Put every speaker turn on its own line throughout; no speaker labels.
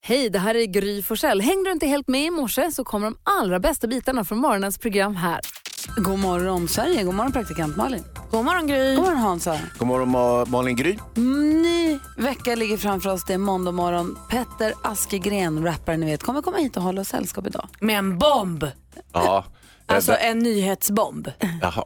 Hej, det här är Gry Forssell. Hängde du inte helt med i morse så kommer de allra bästa bitarna från morgonens program här.
God morgon Sverige, god morgon praktikant Malin.
God morgon Gry.
God morgon Hansa.
God morgon Ma- Malin Gry.
Ny vecka ligger framför oss, det är måndag morgon. Petter Askegren, rapparen ni vet, kommer komma hit och hålla oss sällskap idag.
Med en bomb.
Ja.
Alltså
Eh,
en nyhetsbomb.
Jaha.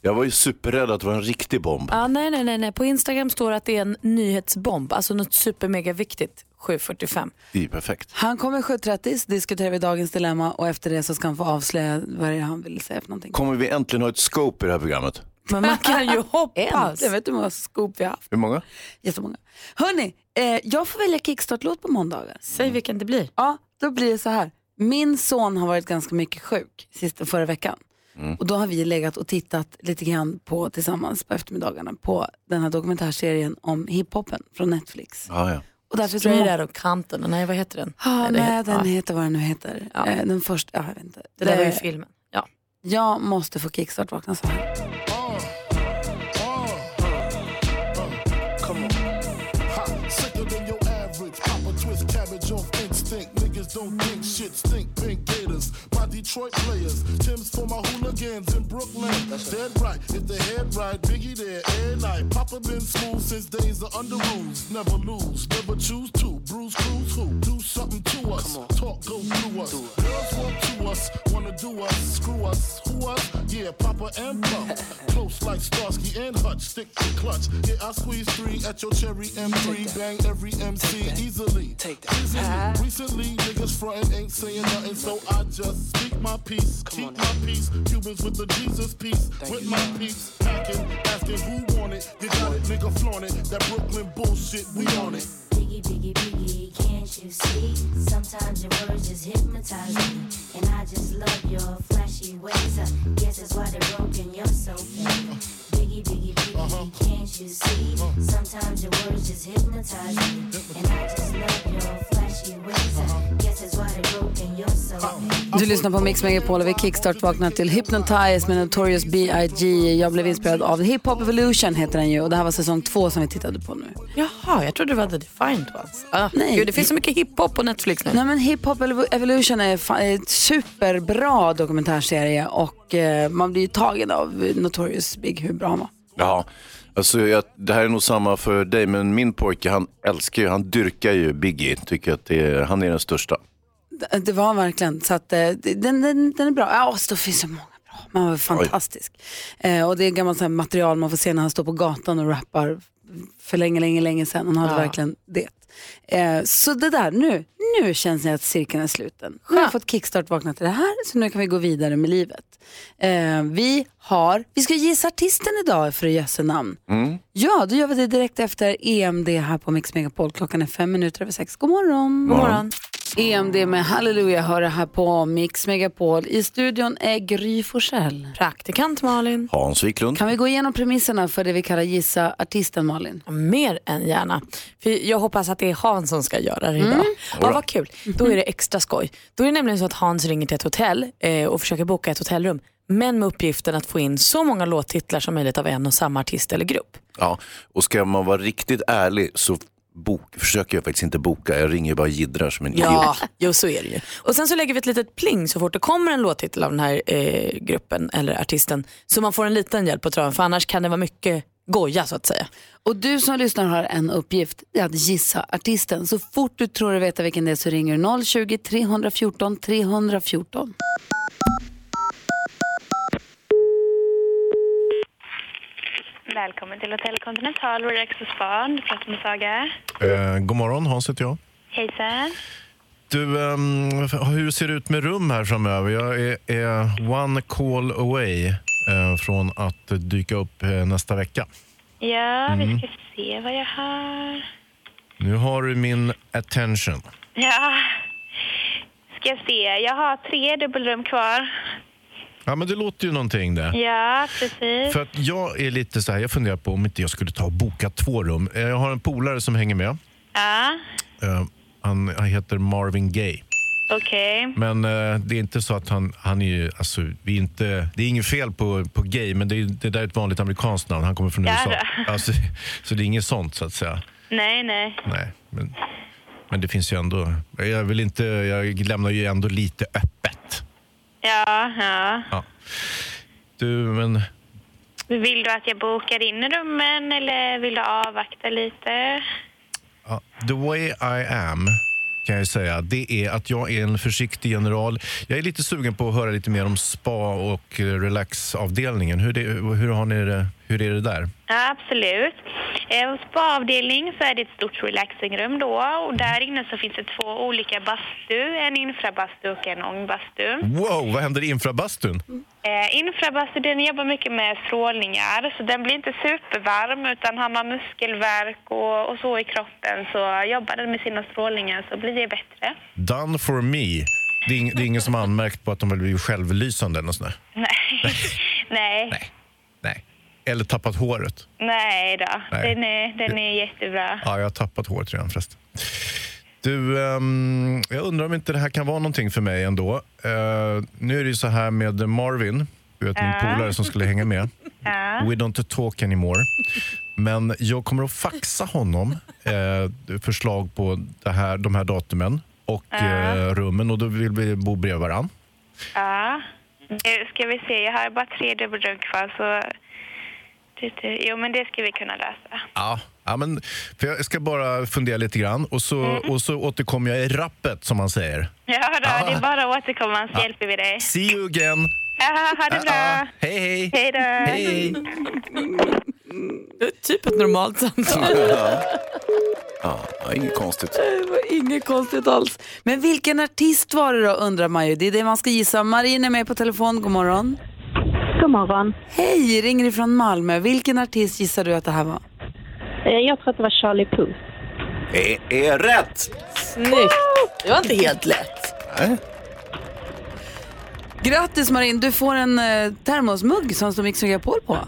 Jag var ju superrädd att det var en riktig bomb.
Ja, nej, nej, nej, nej. På Instagram står att det är en nyhetsbomb. Alltså något supermega viktigt. 7.45.
Det är perfekt.
Han kommer 7.30, så diskuterar vi dagens dilemma och efter det så ska han få avslöja vad det är han vill säga för någonting.
Kommer vi äntligen ha ett scope i det här programmet?
Men man kan ju
hoppas.
Jag vet inte hur många scoop vi har haft.
Hur många?
Jättemånga. Hörni, eh, jag får välja kickstart-låt på måndagar.
Säg vilken det blir.
Ja, då blir det så här. Min son har varit ganska mycket sjuk sista, förra veckan.
Mm.
Och då har vi legat och tittat lite grann på, tillsammans på eftermiddagarna på den här dokumentärserien om hiphopen från Netflix.
Ja, ja.
Och därför så
Straight
må-
out of Compton. Nej, vad heter den?
Ah,
det
nej,
heter-
den
ja.
heter vad den nu heter.
Ja.
Eh, den första, ja, jag vet inte.
Det där var ju
Eh,
filmen. Ja.
jag måste få kickstart vakna så här.
Sicker than your average. Pop a twist cabbage off instinct. Niggas don't think shit stink. Pink gators. My Detroit players. Tim's for my hooligans in Brooklyn. Dead right. If they head right, Biggie there. And I. Papa been smooth since days of under rules. Never lose. Never choose to. Bruise, cruise, who? Do something to us. Talk, go through us. Girls want to us. Wanna do us. Screw us. Who us? Yeah, Papa and Pump. Close like Starsky and Hutch. Stick to clutch. Yeah, I squeeze three at your cherry M3. Bang every MC easily. Take that. Easily. Recently, niggas frontin' ain't saying nothing, so I just speak my peace. keep my peace. Cubans with the Jesus peace. with my peace. Packing, asking who want it. You got it, nigga, flaunt it. That Brooklyn bullshit, we on it.
Biggie, biggie, biggie, can't you see? Sometimes your words just hypnotize me. And I just love your flashy ways. I guess that's why they're broken, you're so fake. Biggie, biggie, biggie, can't you see? Sometimes your words just hypnotize me. And I just love your flashy ways. I guess that's why they're broken, you're so fake.
Du lyssnar på Mix Megapol och vi kickstart vaknar till Hypnotize med Notorious B.I.G. Jag blev inspirerad av Hip Hop Evolution heter den ju och det här var säsong två som vi tittade på nu.
Jaha, jag trodde det var The Defined Ones. Ah,
Nej.
nej. Gud, det finns så mycket hiphop på Netflix nu.
Nej men Hip Hop Evo- Evolution är fa- är ett superbra dokumentärserie och eh, man blir ju tagen av Notorious Big hur bra han var.
Jaha. Alltså, jag, det här är nog samma för dig, men min pojke han älskar ju, han dyrkar ju Biggie. Tycker att det är, han är den största.
Det, Eh, det var han verkligen, så att eh, det- den, den, den är bra. Ja, så det finns så många bra, men han var fantastisk. Eh, och det är gammalt så här material man får se när han står på gatan och rappar för länge, länge, länge sedan. Han hade verkligen det. Eh, så det där, nu, nu känns det att cirkeln är sluten. Nu har jag fått kickstart vaknat till det här, så nu kan vi gå vidare med livet. Eh, vi har, vi ska gissa artisten idag för Jösse namn. Ja, då gör vi det direkt efter EMD här på Mix Megapol. Klockan är fem minuter över sex. God morgon.
God morgon.
EMD E med Halleluja hör det här på Mix Megapol. I studion är Gry Forssell.
Praktikant Malin.
Hans Wiklund.
Kan vi gå igenom premisserna för det vi kallar gissa artisten Malin?
Mer än gärna. För jag hoppas att det är Hans som ska göra det idag.
Mm.
Ja, vad kul. Då är det extra skoj. Då är det nämligen så att Hans ringer till ett hotell eh, och försöker boka ett hotellrum. Men med uppgiften att få in så många låttitlar som möjligt av en och samma artist eller grupp.
Ja. Och ska man vara riktigt ärlig så bok, försöker jag faktiskt inte boka. Jag ringer bara och jiddrar som en
Ja,
idiot.
jo, så är det ju. Och sen så lägger vi ett litet pling så fort det kommer en låttitel av den här eh, gruppen eller artisten. Så man får en liten hjälp på traven för annars kan det vara mycket goja så att säga.
Och du som lyssnar har en uppgift, det är att gissa artisten. Så fort du tror du vet vilken det är så ringer du 020-314 314.
Välkommen till Hotel Continental Relax och Spa. Du pratar med Saga.
Eh, god morgon, Hans heter jag.
Hejsan.
Du, ehm, hur ser det ut med rum här framöver? Jag är, är one call away eh, från att dyka upp eh, nästa vecka.
Ja, vi ska se vad jag har.
Nu har du min attention.
Ja, ska se. Jag har tre dubbelrum kvar.
Ja, men det låter ju någonting det.
Ja, precis.
För att jag är lite så här, jag funderar på om inte jag skulle ta och boka två rum. Eh, Jag har en polare som hänger med.
Ja,
Eh, han, han heter Marvin Gaye.
okej.
Men eh, det är inte så att han, han är ju, alltså, vi är inte, det är inget fel på, på gay, men det, är, det där är ett vanligt amerikanskt namn. Han kommer från
Ja
USA.
då.
Alltså, så det är inget sånt så att säga.
Nej, nej.
Nej, men Men det finns ju ändå... Jag, vill inte, jag lämnar ju ändå lite öppet.
Ja, ja.
Ja. Du, men...
Vill du att jag bokar in rummen eller vill du avvakta lite?
Ja, The way I am kan jag ju säga, det är att jag är en försiktig general. Jag är lite sugen på att höra lite mer om spa och eh, relaxavdelningen. Hur, det, hur, har ni det, hur är det där?
Ja, absolut. Eh, och Spaavdelning så är det ett stort relaxingrum då och där inne så finns det två olika bastu, en infrabastu och en ångbastu.
Wow, vad händer i infrabastun?
Eh, infrabastu den jobbar mycket med strålningar så den blir inte supervarm utan har man muskelvärk och, och så i kroppen så jobbar den med sina strålningar så blir det bättre.
Done for me. Det är, ing, det är ingen som har anmärkt på att de väl blivit självlysande eller något sånt där.
Nej, nej,
Nej. Nej. Eller tappat håret.
nej då.
Nej.
Den är, den är jättebra.
Ja, jag har tappat håret redan förresten. Du, ehm, jag undrar om inte det här kan vara någonting för mig ändå. Eh, nu är det ju så här med Marvin, du vet min polare som skulle hänga med. We don't talk anymore. Men jag kommer att faxa honom eh, förslag på det här, de här datumen och eh, rummen och då vill vi bo bredvid varandra.
Ja. Nu ska vi se, jag har bara tre dubbelrum kvar så... det- det- Jo, men det ska vi kunna lösa.
Ja. Ja, men, för jag ska bara fundera lite grann och så, och så återkommer jag i rappet som man säger.
Ja, då, det är bara att återkomma så hjälper vi dig.
See you again!
Ja, ha det
Ja,
bra!
hej hej!
Hej då!
Hej.
Det är typ ett normalt samtal.
Ja. Ja, inget konstigt.
Det var inget konstigt alls. Men vilken artist var det då undrar man ju. Det är det man ska gissa. Marin är med på telefon. God morgon.
God morgon.
Hej, ringer ifrån Malmö. Vilken artist gissar du att det här var?
Eh, Jag tror att det var Charlie Puth.
Är, är rätt!
Snyggt. Det var inte helt lätt.
Nej.
Grattis Marin, du får en eh, termosmugg som står Mix Megapol på.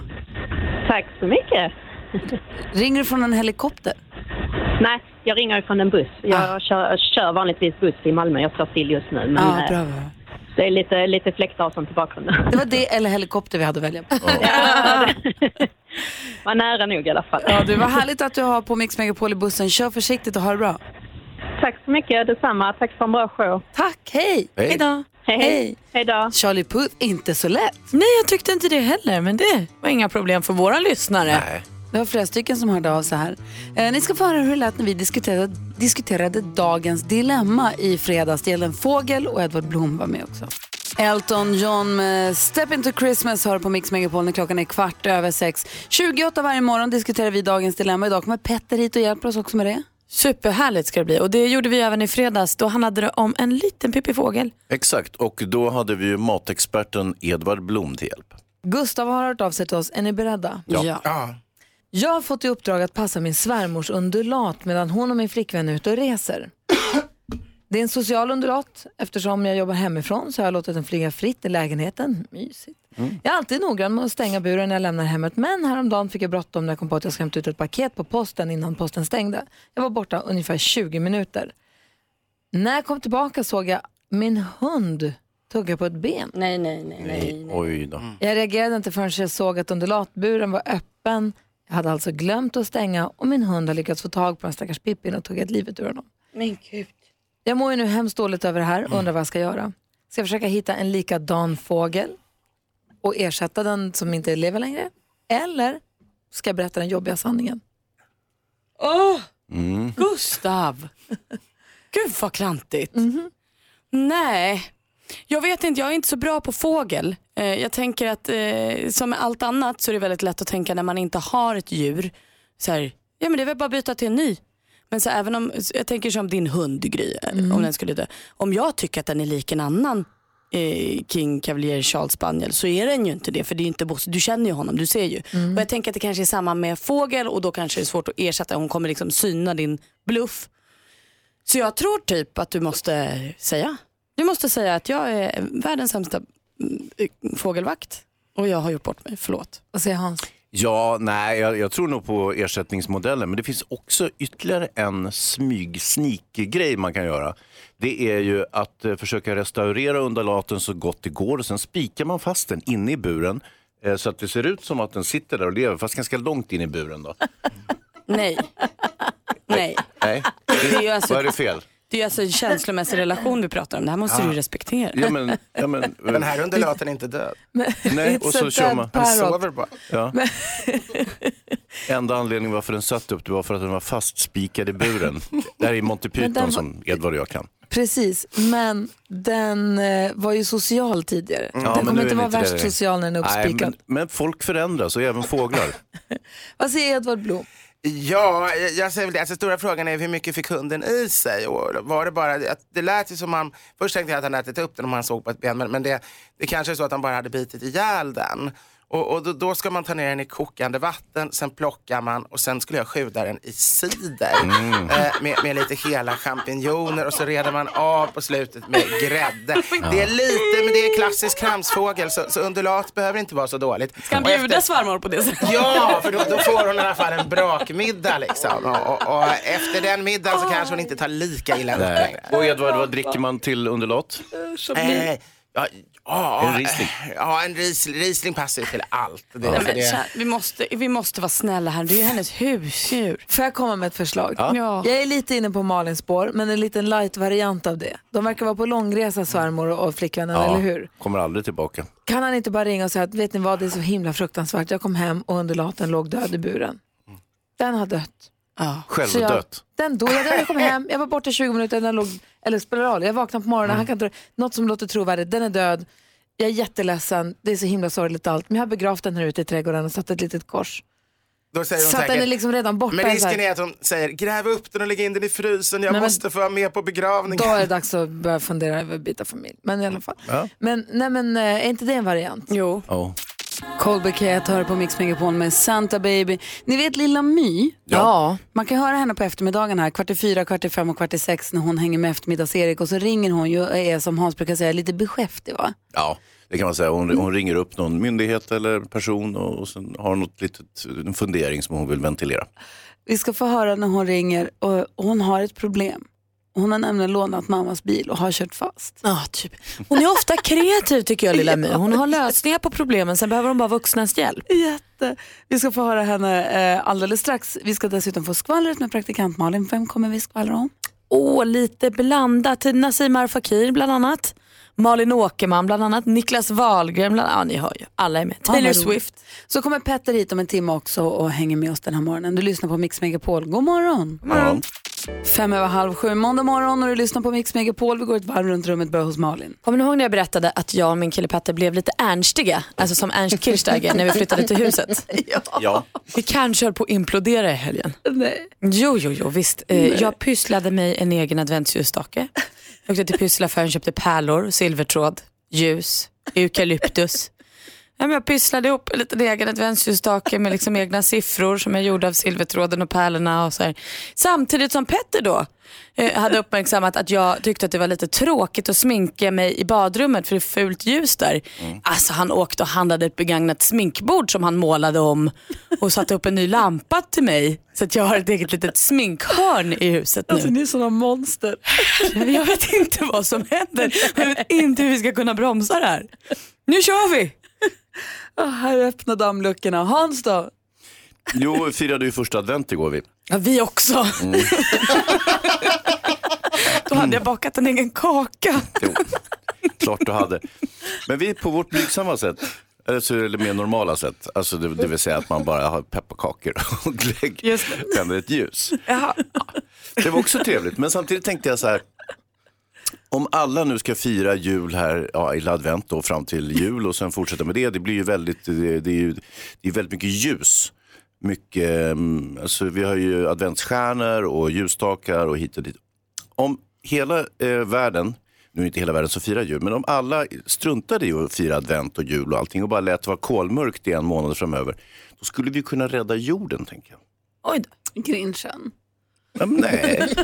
Tack så mycket.
Ringer du från en helikopter?
Nej, jag ringer från en buss. Jag kör, kör vanligtvis buss i Malmö. Jag står still just nu. Men
Ja,
eh,
bra.
det är lite, lite fläktar och sånt i bakgrunden.
Det var det eller helikopter vi hade att välja på.
Ah. var nära nog i alla fall.
Ja, du, vad härligt att du har på Mix Megapol i bussen. Kör försiktigt och ha det bra.
Tack så mycket. Detsamma. Tack för en bra show.
Tack, hej!
Hej.
då!
Hej,
Hej.
hej. Hej då.
Charlie Puth, inte så lätt.
Nej, jag tyckte inte det heller, men det var inga problem för våra lyssnare.
Nej.
Det var flera stycken som hörde av så här. Eh, ni ska få höra hur det lät när vi diskuterade, diskuterade dagens dilemma i fredags. Det gällde en fågel och Edvard Blom var med också. Elton John med Step Into Christmas hör på Mix Megapol när klockan är kvart över sex. 28 varje morgon diskuterar vi dagens dilemma. Idag kommer Petter hit och hjälper oss också med det.
Superhärligt ska det bli och det gjorde vi även i fredags. Då handlade det om en liten pippifågel.
Exakt, och då hade vi ju matexperten Edvard Blom till hjälp.
Gustav har hört av sig till oss. Är ni beredda?
Ja.
Jag har fått i uppdrag att passa min svärmors undulat medan hon och min flickvän är ute och reser. Det är en social undulat. Eftersom jag jobbar hemifrån så har jag låtit den flyga fritt i lägenheten. Mysigt.
Mm.
Jag är alltid noggrann med att stänga buren när jag lämnar hemmet men häromdagen fick jag bråttom när jag kom på att jag ska hämta ut ett paket på posten innan posten stängde. Jag var borta ungefär 20 minuter. När jag kom tillbaka såg jag min hund tugga på ett ben.
Nej, nej, nej. nej.
Oj då.
Jag reagerade inte förrän jag såg att undulatburen var öppen. Jag hade alltså glömt att stänga och min hund har lyckats få tag på den stackars Pippin och tagit livet ur honom.
Men gud.
Jag mår ju nu hemskt dåligt över det här
Mm.
och undrar vad jag ska göra. Ska jag försöka hitta en likadan fågel och ersätta den som inte lever längre? Eller ska jag berätta den jobbiga sanningen?
Åh! Gustav! Gud vad klantigt.
Mhm.
Nej, jag vet inte. Jag är inte så bra på fågel. Eh, Jag tänker att eh, som med allt annat så är det väldigt lätt att tänka när man inte har ett djur. Så här, ja men det är väl bara att byta till en ny. Men så även om, jag tänker som din hund Gry, eh,
Mm.
om den skulle dö. Om jag tycker att den är lik en annan eh, King Cavalier Charles Spaniel så är den ju inte det för det är ju inte Bosse. Du känner ju honom, du ser ju.
Mm.
Och jag tänker att det kanske är samma med fågel och då kanske det är svårt att ersätta. Hon kommer liksom syna din bluff. Så jag tror typ att du måste säga. Du måste säga att jag är världens sämsta mm, fågelvakt och jag har gjort bort mig, förlåt.
Vad säger Hans?
Ja, nej, jag, jag tror nog på ersättningsmodellen, men det finns också ytterligare en smyg grej man kan göra. Det är ju att eh, försöka restaurera undulaten så gott det går och sen spikar man fast den inne i buren eh, så att det ser ut som att den sitter där och lever, fast ganska långt in i buren. Då.
Nej.
Nej.
Nej.
Det är ju alltså-
Vad är det fel?
Det är ju alltså en känslomässig relation vi pratar om. Det här måste du ju respektera.
Ah. Ja, men, ja, men,
Den
eh,
här undulaten är inte död.
Nej,
It's
och
a
så kör
dead
man.
Den
Parrot.
sover bara.
Ja. Enda anledningen varför den satt upp det var för att den var fastspikad i buren. Det här är Monty Python
den var- Mm.
som Edvard och jag kan.
Precis, men den eh, var ju social tidigare.
Mm. Ja,
den
men
kommer
nu är
inte
den
vara
inte
värst
det.
social när den är
Nej,
uppspikad.
men, men folk förändras och även fåglar.
Vad säger Edvard Blom?
Ja, jag- jag säger väl det. Alltså, stora frågan är hur mycket fick hunden i sig? Och var det, bara, att det lät ju som han, först tänkte jag att han ätit upp den om han såg på ett ben, men, men det, det kanske är så att han bara hade bitit ihjäl den. Och, och då, då ska man ta ner den i kokande vatten, sen plockar man och sen skulle jag sjuda den i cider
Mm.
eh, med, med lite hela champinjoner och så reder man av på slutet med grädde. Det är lite, men det är klassisk kramsfågel så, så undulat behöver inte vara så dåligt.
Ska han
Och efter-
bjuda svärmor på det sättet?
Ja, för då, då får hon i alla fall en brakmiddag liksom. Och, och, och efter den middagen så kanske hon inte tar lika illa upp
Nej.
längre.
Och Edvard, vad dricker man till underlat?
Eh, ja, ja,
En Riesling.
Ja, en ris, Riesling passar ju till allt. Det,
Nej,
så
men,
det,
tja, vi, måste, vi måste vara snälla här. Det är ju hennes husdjur.
Får jag komma med ett förslag?
Ja.
Jag är lite inne på Malins spår, men en liten light-variant av det. De verkar vara på långresa, svärmor och och flickvännen, eller hur?
Kommer aldrig tillbaka.
Kan han inte bara ringa och säga att vet ni vad, det är så himla fruktansvärt. Jag kom hem och undulaten låg död i buren. Den har dött. Så jag,
Självdött.
Den dog. Jag jag kom hem, jag var borta i 20 minuter, den låg, eller spelar roll, jag vaknade på morgonen, han kan inte, något som låter trovärdigt, den är död. Jag är jätteledsen, det är så himla sorgligt allt, men jag har begravt den här ute i trädgården och satt ett litet kors.
då säger hon
Så att den är
säkert,
liksom redan borta.
men
så här.
risken är att hon säger gräv upp den och lägg in den i frysen, jag
Nej, men-
måste få vara med på
Då
begravningen.
är det dags att börja fundera över att byta familj. Men i alla fall.
Ja.
Men, nej, men eh, är inte det en variant?
Jo.
Ja.
Coldplay Cat hör på Mix Megapol med Santa Baby. Ni vet Lilla My?
Ja.
Man kan höra henne på eftermiddagen här, kvart i fyra, kvart i fem och kvart i sex när hon hänger med eftermiddags-Erik och så ringer hon ju och är som Hans brukar säga lite beskäftig va?
Ja, det kan man säga. Hon, hon ringer upp någon myndighet eller person och, och sen har hon något litet, en fundering som hon vill ventilera.
Vi ska få höra när hon ringer och, och hon har ett problem. Hon har nämligen lånat mammas bil och har kört fast.
Ja, typ. Hon är ofta kreativ tycker jag lilla My. Hon har lösningar på problemen, sen behöver hon bara vuxnas hjälp.
Jätte. Vi ska få höra henne eh, alldeles strax. Vi ska dessutom få skvallret med praktikant Malin. Vem kommer vi skvallra om?
Åh, lite blandat. Nassim Al Fakir bland annat. Malin Åkerman bland annat. Niklas Wahlgren bland annat. Ja, ni hör ju. Alla är med.
Ja, vad
Taylor
roligt.
Swift.
Så kommer Petter hit om en timme också och hänger med oss den här morgonen. Du lyssnar på Mix Megapol. God morgon!
Ja.
Fem över halv sju måndag morgon och du lyssnar på Mix Megapol. Vi går ett varv runt rummet börjar hos Malin.
Kommer ni ihåg när jag berättade att jag och min kille Petter blev lite ernstiga? Alltså som Ernst Kirchsteiger när vi flyttade till huset.
Ja.
Vi kanske höll på att implodera i helgen.
Nej.
Jo, jo, jo, visst. Eh, jag pysslade mig en egen adventsljusstake. Jag åkte till pysslaaffären och köpte pärlor, silvertråd, ljus, eukalyptus. Ja, men jag pysslade ihop en liten egen adventsljusstake med liksom egna siffror som jag gjorde av silvertråden och pärlorna. Och så här. Samtidigt som Petter då eh, hade uppmärksammat att jag tyckte att det var lite tråkigt att sminka mig i badrummet för det är fult ljus där. Alltså han åkte och handlade ett begagnat sminkbord som han målade om och satte upp en ny lampa till mig så att jag har ett eget litet sminkhörn i huset nu.
Alltså, Ni är sådana monster.
Jag vet inte vad som händer. Jag vet inte hur vi ska kunna bromsa det här. Nu kör vi!
Ah, här öppnar dammluckorna. Hans då?
Jo, vi firade ju första advent igår vi.
Ja, vi också. Då hade jag bakat en egen kaka.
Jo, klart du hade. Men vi på vårt blygsamma sätt, alltså, eller mer normala sätt, alltså, det, det vill säga att man bara har pepparkakor och glögg, tänder ett ljus.
Jaha.
Det var också trevligt, men samtidigt tänkte jag så här, om alla nu ska fira jul här ja, i advent då, fram till jul och sen fortsätta med det, det blir ju väldigt, det, det är ju det är väldigt mycket ljus. Mycket, mm, alltså, vi har ju adventsstjärnor och ljusstakar och hit och dit om hela eh, världen, nu är inte hela världen som firar jul, men om alla struntade i att fira advent och jul och allting och bara lät det vara kolmörkt i en månad framöver, då skulle vi kunna rädda jorden, tänker jag.
Oj då.
Grinchen.
Ja, Men nej,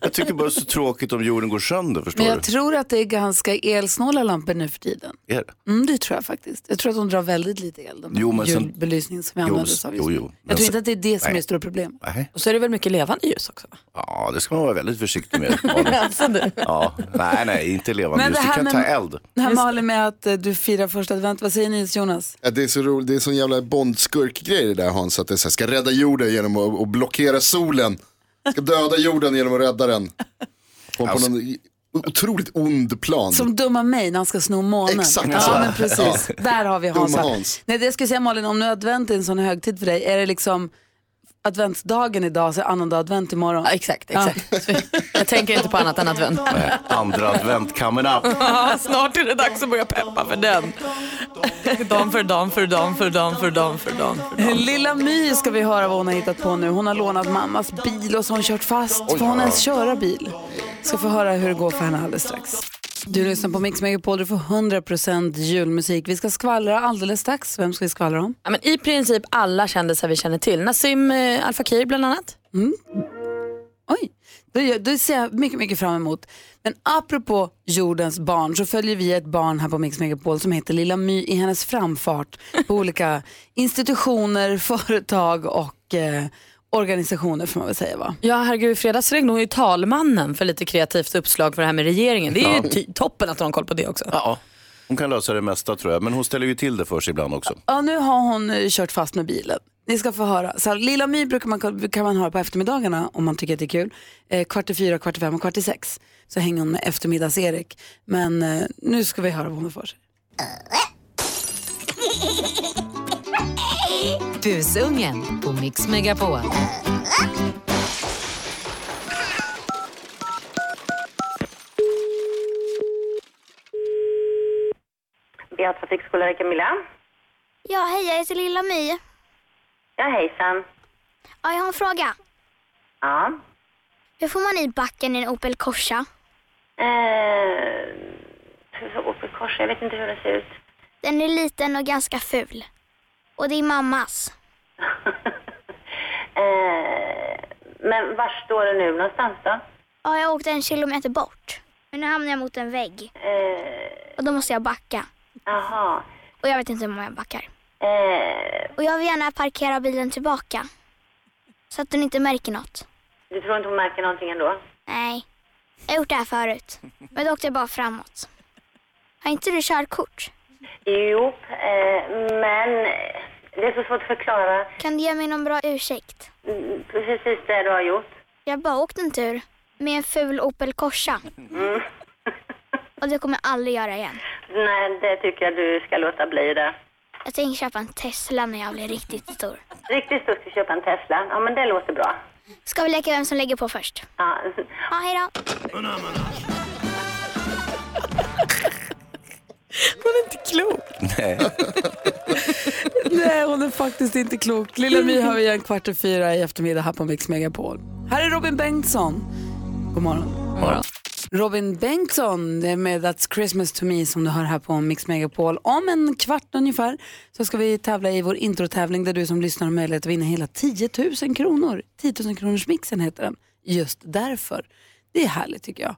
jag tycker bara det är så tråkigt om jorden går sönder, förstår
Men jag tror att det är ganska elsnåla lampor nu för tiden.
du? Är det?
Mm, det tror jag faktiskt. Jag tror att de drar väldigt lite el, de
Jo,
jo,
men sen-
julbelysningen som vi
Jo,
använder oss av just
jo,
nu.
jo.
Jag tror
Men sen-
inte att det är det som är
Nej.
det stora problemet.
Nej.
Och så är det väl mycket levande ljus också? va?
Ja, det ska man vara väldigt försiktig med. Malin.
Alltså, du.
Ja, nej, nej, inte levande
Men
ljus.
det
Det
här
kan
med-
ta eld.
Det här Malin med att eh, du firar första advent, vad säger ni Jonas?
Ja, det är så roligt, det är sån jävla Bondskurk-grej det där Hans, att det är så här, ska rädda jorden genom att, att blockera solen.
Ska döda jorden genom att rädda den. På, på
Alltså-
någon otroligt ond plan.
Som dumma mig när han ska sno månen.
Exakt så.
ja, men precis.
Ja.
Där har vi Hans.
Dumma Hans.
Nej, det jag skulle säga Malin, om nu advent är en sån högtid för dig, är det liksom adventsdagen idag så är annandag advent imorgon?
exakt, exakt. Jag tänker inte på annat än advent.
Nej, Andra advent coming up.
Snart är det dags att börja peppa för den. Dam för dam för dam för dam för dam för dam.
Lilla My ska vi höra vad hon har hittat på nu. Hon har lånat mammas bil och så har hon kört fast. Får hon ens köra bil? Ska få höra hur det går för henne alldeles strax. Du lyssnar på Mix Megapol, du får 100% julmusik. Vi ska skvallra alldeles strax. Vem ska vi skvallra om?
Ja, men I princip alla kändisar vi känner till. Nassim eh, Al Fakir bland annat.
Det, gör- det ser jag mycket, mycket fram emot. Men apropå jordens barn så följer vi ett barn här på Mix Megapol som heter Lilla My i hennes framfart på olika institutioner, företag och eh, organisationer får man väl säga va?
Ja, herregud, i fredags ringde hon ju talmannen för lite kreativt uppslag för det här med regeringen. Det är ju
Ja.
ty- toppen att de har koll på det också.
Ja, hon kan lösa det mesta tror jag, men hon ställer ju till det för sig ibland också.
Ja, nu har hon eh, kört fast med bilen. Ni ska få höra. Så här, Lilla My brukar man, kan man höra på eftermiddagarna om man tycker att det är kul. Eh, kvart i fyra, kvart i fem och kvart i sex så hänger hon med eftermiddags-Erik. Men eh, nu ska vi höra vad hon får sig.
Busungen på Mix Megapol.
Bea trafikskola, Camilla.
Ja, hej, jag heter Lilla My.
Ja, hejsan.
Ja, jag har en fråga.
Ja.
Hur får man i backen i en Opel Corsa?
Eh, hur- Opel Corsa, jag vet inte hur den ser ut.
Den är liten och ganska ful. Och det är mammas.
Eh, men var står den nu någonstans då?
Ja, jag åkte en kilometer bort. Men nu hamnar jag mot en vägg.
Eh.
Och då måste jag backa.
Jaha.
Och jag vet inte hur många jag backar.
Eh,
Och jag vill gärna parkera bilen tillbaka. Så att den inte märker något.
du tror inte hon märker någonting ändå?
Nej. Jag har gjort det här förut. Men då åkte jag bara framåt. Har inte du körkort?
Jo, eh, men det är så svårt att förklara
Kan du ge mig någon bra ursäkt?
mm, precis det du har gjort.
Jag bara åkte en tur med en ful Opel Corsa.
Mm.
Och det kommer jag aldrig göra igen.
Nej, det tycker jag du ska låta bli det.
Jag tänker köpa en Tesla när jag blir riktigt stor.
Riktigt stort att köpa en Tesla. Ja, men det låter bra.
Ska vi leka vem som lägger på först?
Ja.
Ja, hej då.
Hon är inte klok.
Nej.
Nej, hon är faktiskt inte klok. Lilla My har vi igen kvart i fyra i eftermiddag här på Mix Megapol. Här är Robin Bengtsson. God morgon. Robin Bengtsson det är med That's Christmas to me som du hör här på Mix Megapol. Om en kvart ungefär så ska vi tävla i vår introtävling där du som lyssnar har möjlighet att vinna hela 10 000 kronor. 10 000 kronors mixen heter den. Just därför. Det är härligt tycker jag.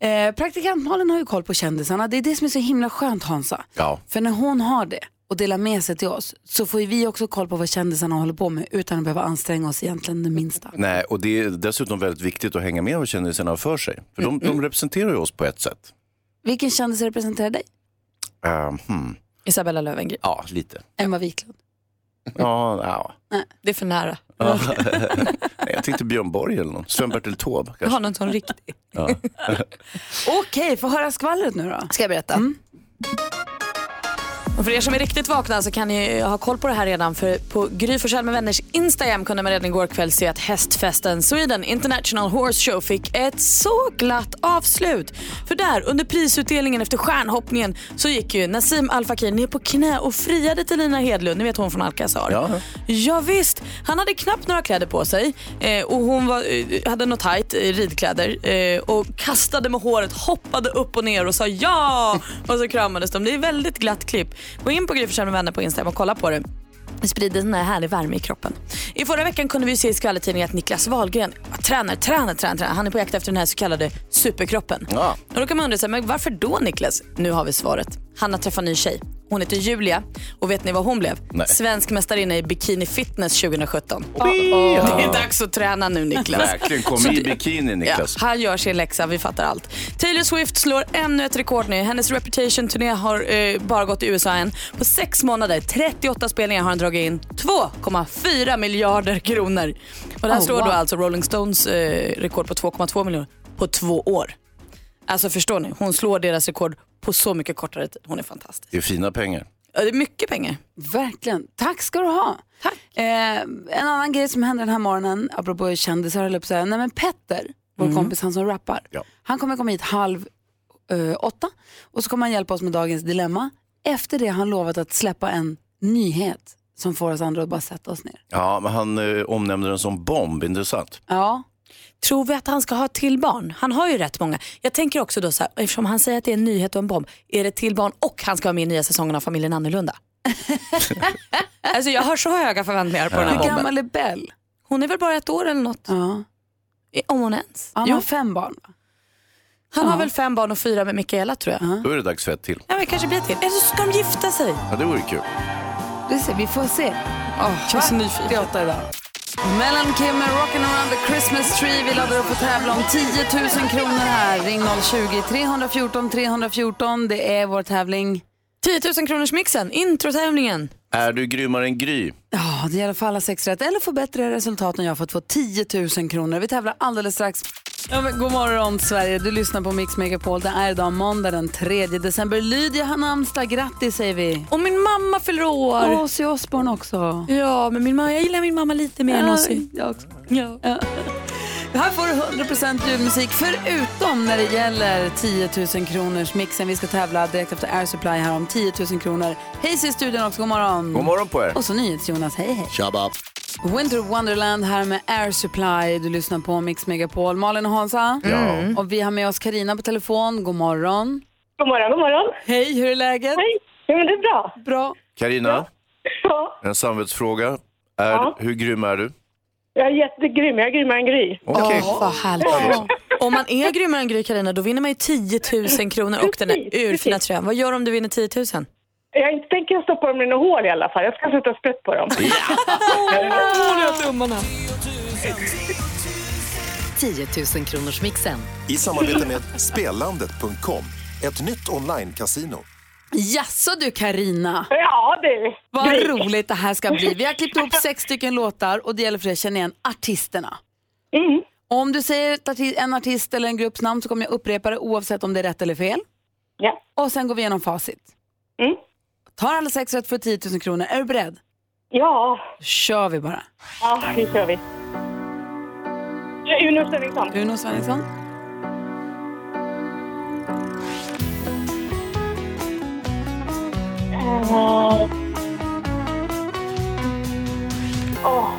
Eh, praktikant Malin har ju koll på kändisarna. Det är det som är så himla skönt Hansa.
Ja.
För när hon har det och delar med sig till oss så får ju vi också koll på vad kändisarna håller på med utan att behöva anstränga oss egentligen det minsta.
Nej, och det är dessutom väldigt viktigt att hänga med vad kändisarna har för sig. För de,
Mm.
de representerar ju oss på ett sätt.
Vilken kändis representerar dig?
Eh, hmm.
Isabella Löwengrip.
Ja, lite.
Emma Wiklund.
Ja, ja.
Det är för nära.
Ja. Nej, jag tänkte Björn Borg eller någon. Sven-Bertil Taube
Jag har
kanske.
någon sån riktig.
Ja.
Okej, få höra skvallret nu då. Mm,
Ska jag berätta? Och för er som är riktigt vakna så kan ni ha koll på det här redan. För på Gry Forssell med vänners Instagram kunde man redan igår kväll se att hästfesten Sweden International Horse Show fick ett så glatt avslut. För där, under prisutdelningen efter stjärnhoppningen, så gick ju Nassim Al Fakir ner på knä och friade till Lina Hedlund, ni vet hon från Alcazar. Ja. ja visst, han hade knappt några kläder på sig eh, och hon var, eh, hade något tajt eh, ridkläder eh, och kastade med håret, hoppade upp och ner och sa ja och så kramades de. Det är väldigt glatt klipp. Gå in på Gry Forssell med vänner på Instagram och kolla på det. Det sprider sån här härlig värme i kroppen. I förra veckan kunde vi se i skvallertidningen att Niklas Wahlgren tränar, tränar, tränar, tränar. Han är på jakt efter den här så kallade superkroppen. Och då kan man undra sig, men varför då Niklas? Nu har vi svaret. Han har träffat ny tjej Hon heter Julia och vet ni vad hon blev?
Nej.
Svensk mästarinna i bikini fitness 2017.
Oh.
Det är dags att träna nu Niklas.
Verkligen, kom
Så
i
du-
bikini Niklas.
Ja, han gör sin läxa, vi fattar allt. Taylor Swift slår ännu ett rekord nu. Hennes Reputation-turné har eh, bara gått i USA än. På sex månader, 38 spelningar har han dragit in 2,4 miljarder kronor. Och det här
Oh,
slår då
wow.
alltså Rolling Stones eh, rekord på 2,2 miljoner på två år. Alltså förstår ni, hon slår deras rekord på så mycket kortare tid. Hon är fantastisk.
Det är fina pengar.
Ja, Det är mycket pengar.
Verkligen. Tack ska du ha. Tack. Eh, en annan grej som hände den här morgonen, apropå kändisar höll jag på att säga. Nej men Petter, vår
Mm.
kompis, han som rappar.
Ja.
Han kommer komma hit halv eh, åtta och så kommer han hjälpa oss med dagens dilemma. Efter det har han lovat att släppa en nyhet som får oss andra att bara sätta oss ner.
Ja, men han eh, omnämnde den som bomb, intressant.
Ja.
Tror vi att han ska ha ett till barn? Han har ju rätt många. Jag tänker också då så här, eftersom han säger att det är en nyhet och en bomb, är det ett till barn och han ska vara med i nya säsongen av Familjen Annorlunda? alltså jag har så höga förväntningar på den här
Hur
bomben.
gammal är Bell?
Hon är väl bara ett år eller något?
Ja.
Om hon ens.
Han
Jo.
har fem barn va?
Han har väl fem barn och fyra med Mikaela tror jag.
Då är det dags för ett till.
Ja, men kanske blir ett till. Eller så ska de gifta sig.
Ja, det vore kul.
Du ser, vi får se. jag är så nyfiken. Det är åtta idag. Mellan Kim med Rockin' around the Christmas tree. Vi laddar upp och tävlar om 10 000 kronor här. Ring 020 314 314. Det är vår tävling.
10 000 kronors mixen, introtävlingen.
Är du grymmare än Gry?
Ja, det gäller för alla sex rätt. Eller få bättre resultat än jag för att få 10 000 kronor. Vi tävlar alldeles strax. Ja, men, god morgon Sverige, du lyssnar på Mix Megapol. Det är idag måndag den 3 december. Lydia har namnsdag, grattis säger vi.
Och min mamma fyller år.
Och Ozzy Osbourne också.
Ja, men min mamma, jag gillar min mamma lite mer än
Ja,
Ozzy.
Jag också. Ja. Här får du 100% julmusik förutom när det gäller 10 000 kronors mixen. Vi ska tävla direkt efter Air Supply här om 10 000 kronor. Hej i studion också, god morgon.
God morgon på er.
Och så NyhetsJonas, hej hej.
Tjaba.
Winter Wonderland här med Air Supply. Du lyssnar på Mix Megapol. Malin och Hansa.
Ja. Mm.
Och vi har med oss Karina på telefon. God morgon.
God morgon, god morgon.
Hej, hur är läget?
Hej, ja, men det är bra.
Bra.
Karina,
Ja,
en samvetsfråga. Är,
Ja.
Hur grym är du?
jag är jättegrym, jag är grymmare än Gry.
Okej.
Åh, vad härligt. Om man är grymmare än Gry Carina, då vinner man ju 10 000 kronor och den där urfina tröjan. Vad gör du om du vinner 10 000?
Jag inte tänker jag stoppa dem i något hål i alla fall. Jag ska sätta sprätt på dem.
Håller tummarna.
10 000 kronors mixen.
I samarbete med Spellandet.com, ett nytt online-casino.
Jaså du Karina?
Ja du.
Vad
Gry.
roligt det här ska bli. Vi har klippt ihop sex stycken låtar och det gäller för dig att känna igen artisterna.
Mm.
Om du säger ett arti- en artist eller en grupps namn så kommer jag upprepa det oavsett om det är rätt eller fel.
Ja. Mm.
Och sen går vi igenom facit. Tar alla sex rätt för 10 000 kronor. Är du beredd?
Ja.
Då kör vi bara.
Ja, nu kör vi. Uno Svenningsson.
Uno Svenningsson.
Åh. Åh.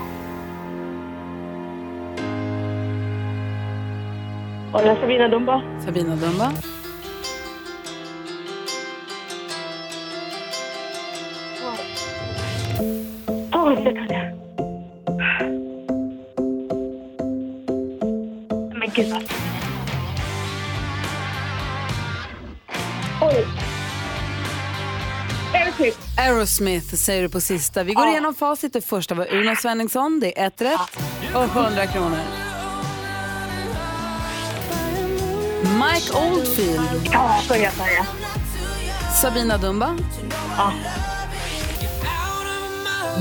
Och det är Sabina Dumba.
Sabina Dumba.
Åh, det kan jag. Men gud vad... Oj. Aerosmith.
Aerosmith säger du på sista. Vi går igenom facit. Det första var Uno Svenningsson. Det är ett rätt och 100 kronor. Mike Oldfield.
Ja, så jag säga.
Sabina Dumba.
Ja.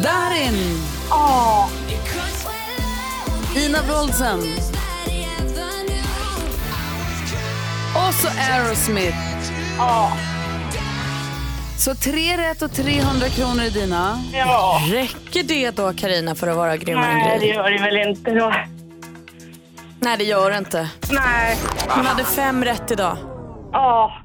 Darin.
Ja.
Ina Wroldsen. Och så Aerosmith.
Ja.
Så tre rätt och 300 kronor är dina.
Ja.
Räcker det då Carina för att vara grymmare
Nej,
än
det
Gry?
gör det väl inte då.
Nej, det gör det inte.
Nej.
Hon hade fem rätt idag.
Ja,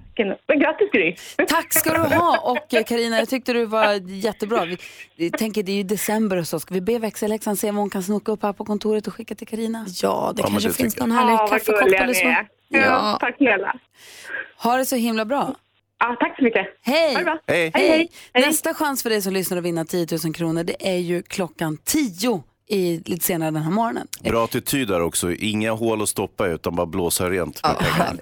men grattis Gry.
Tack ska du ha. Och eh, Carina, jag tyckte du var jättebra. Vi, vi tänker det är ju december och så. Ska vi be växelläxan se om hon kan snoka upp här på kontoret och skicka till Carina?
Ja, det
Ja, men
kanske
det
finns
tycker
någon
jag.
härlig
Ja, vad
kaffekopp
gulliga
eller
ni
så.
är. Ja,
tack snälla.
Ha det så himla bra.
Ja, tack så mycket.
Hej.
Ha det bra.
Nästa chans för dig som lyssnar att vinna 10 000 kronor det är ju klockan 10 i, lite senare den här morgonen.
Bra attityd där också. Inga hål att stoppa utan bara blåsa rent med pengarna.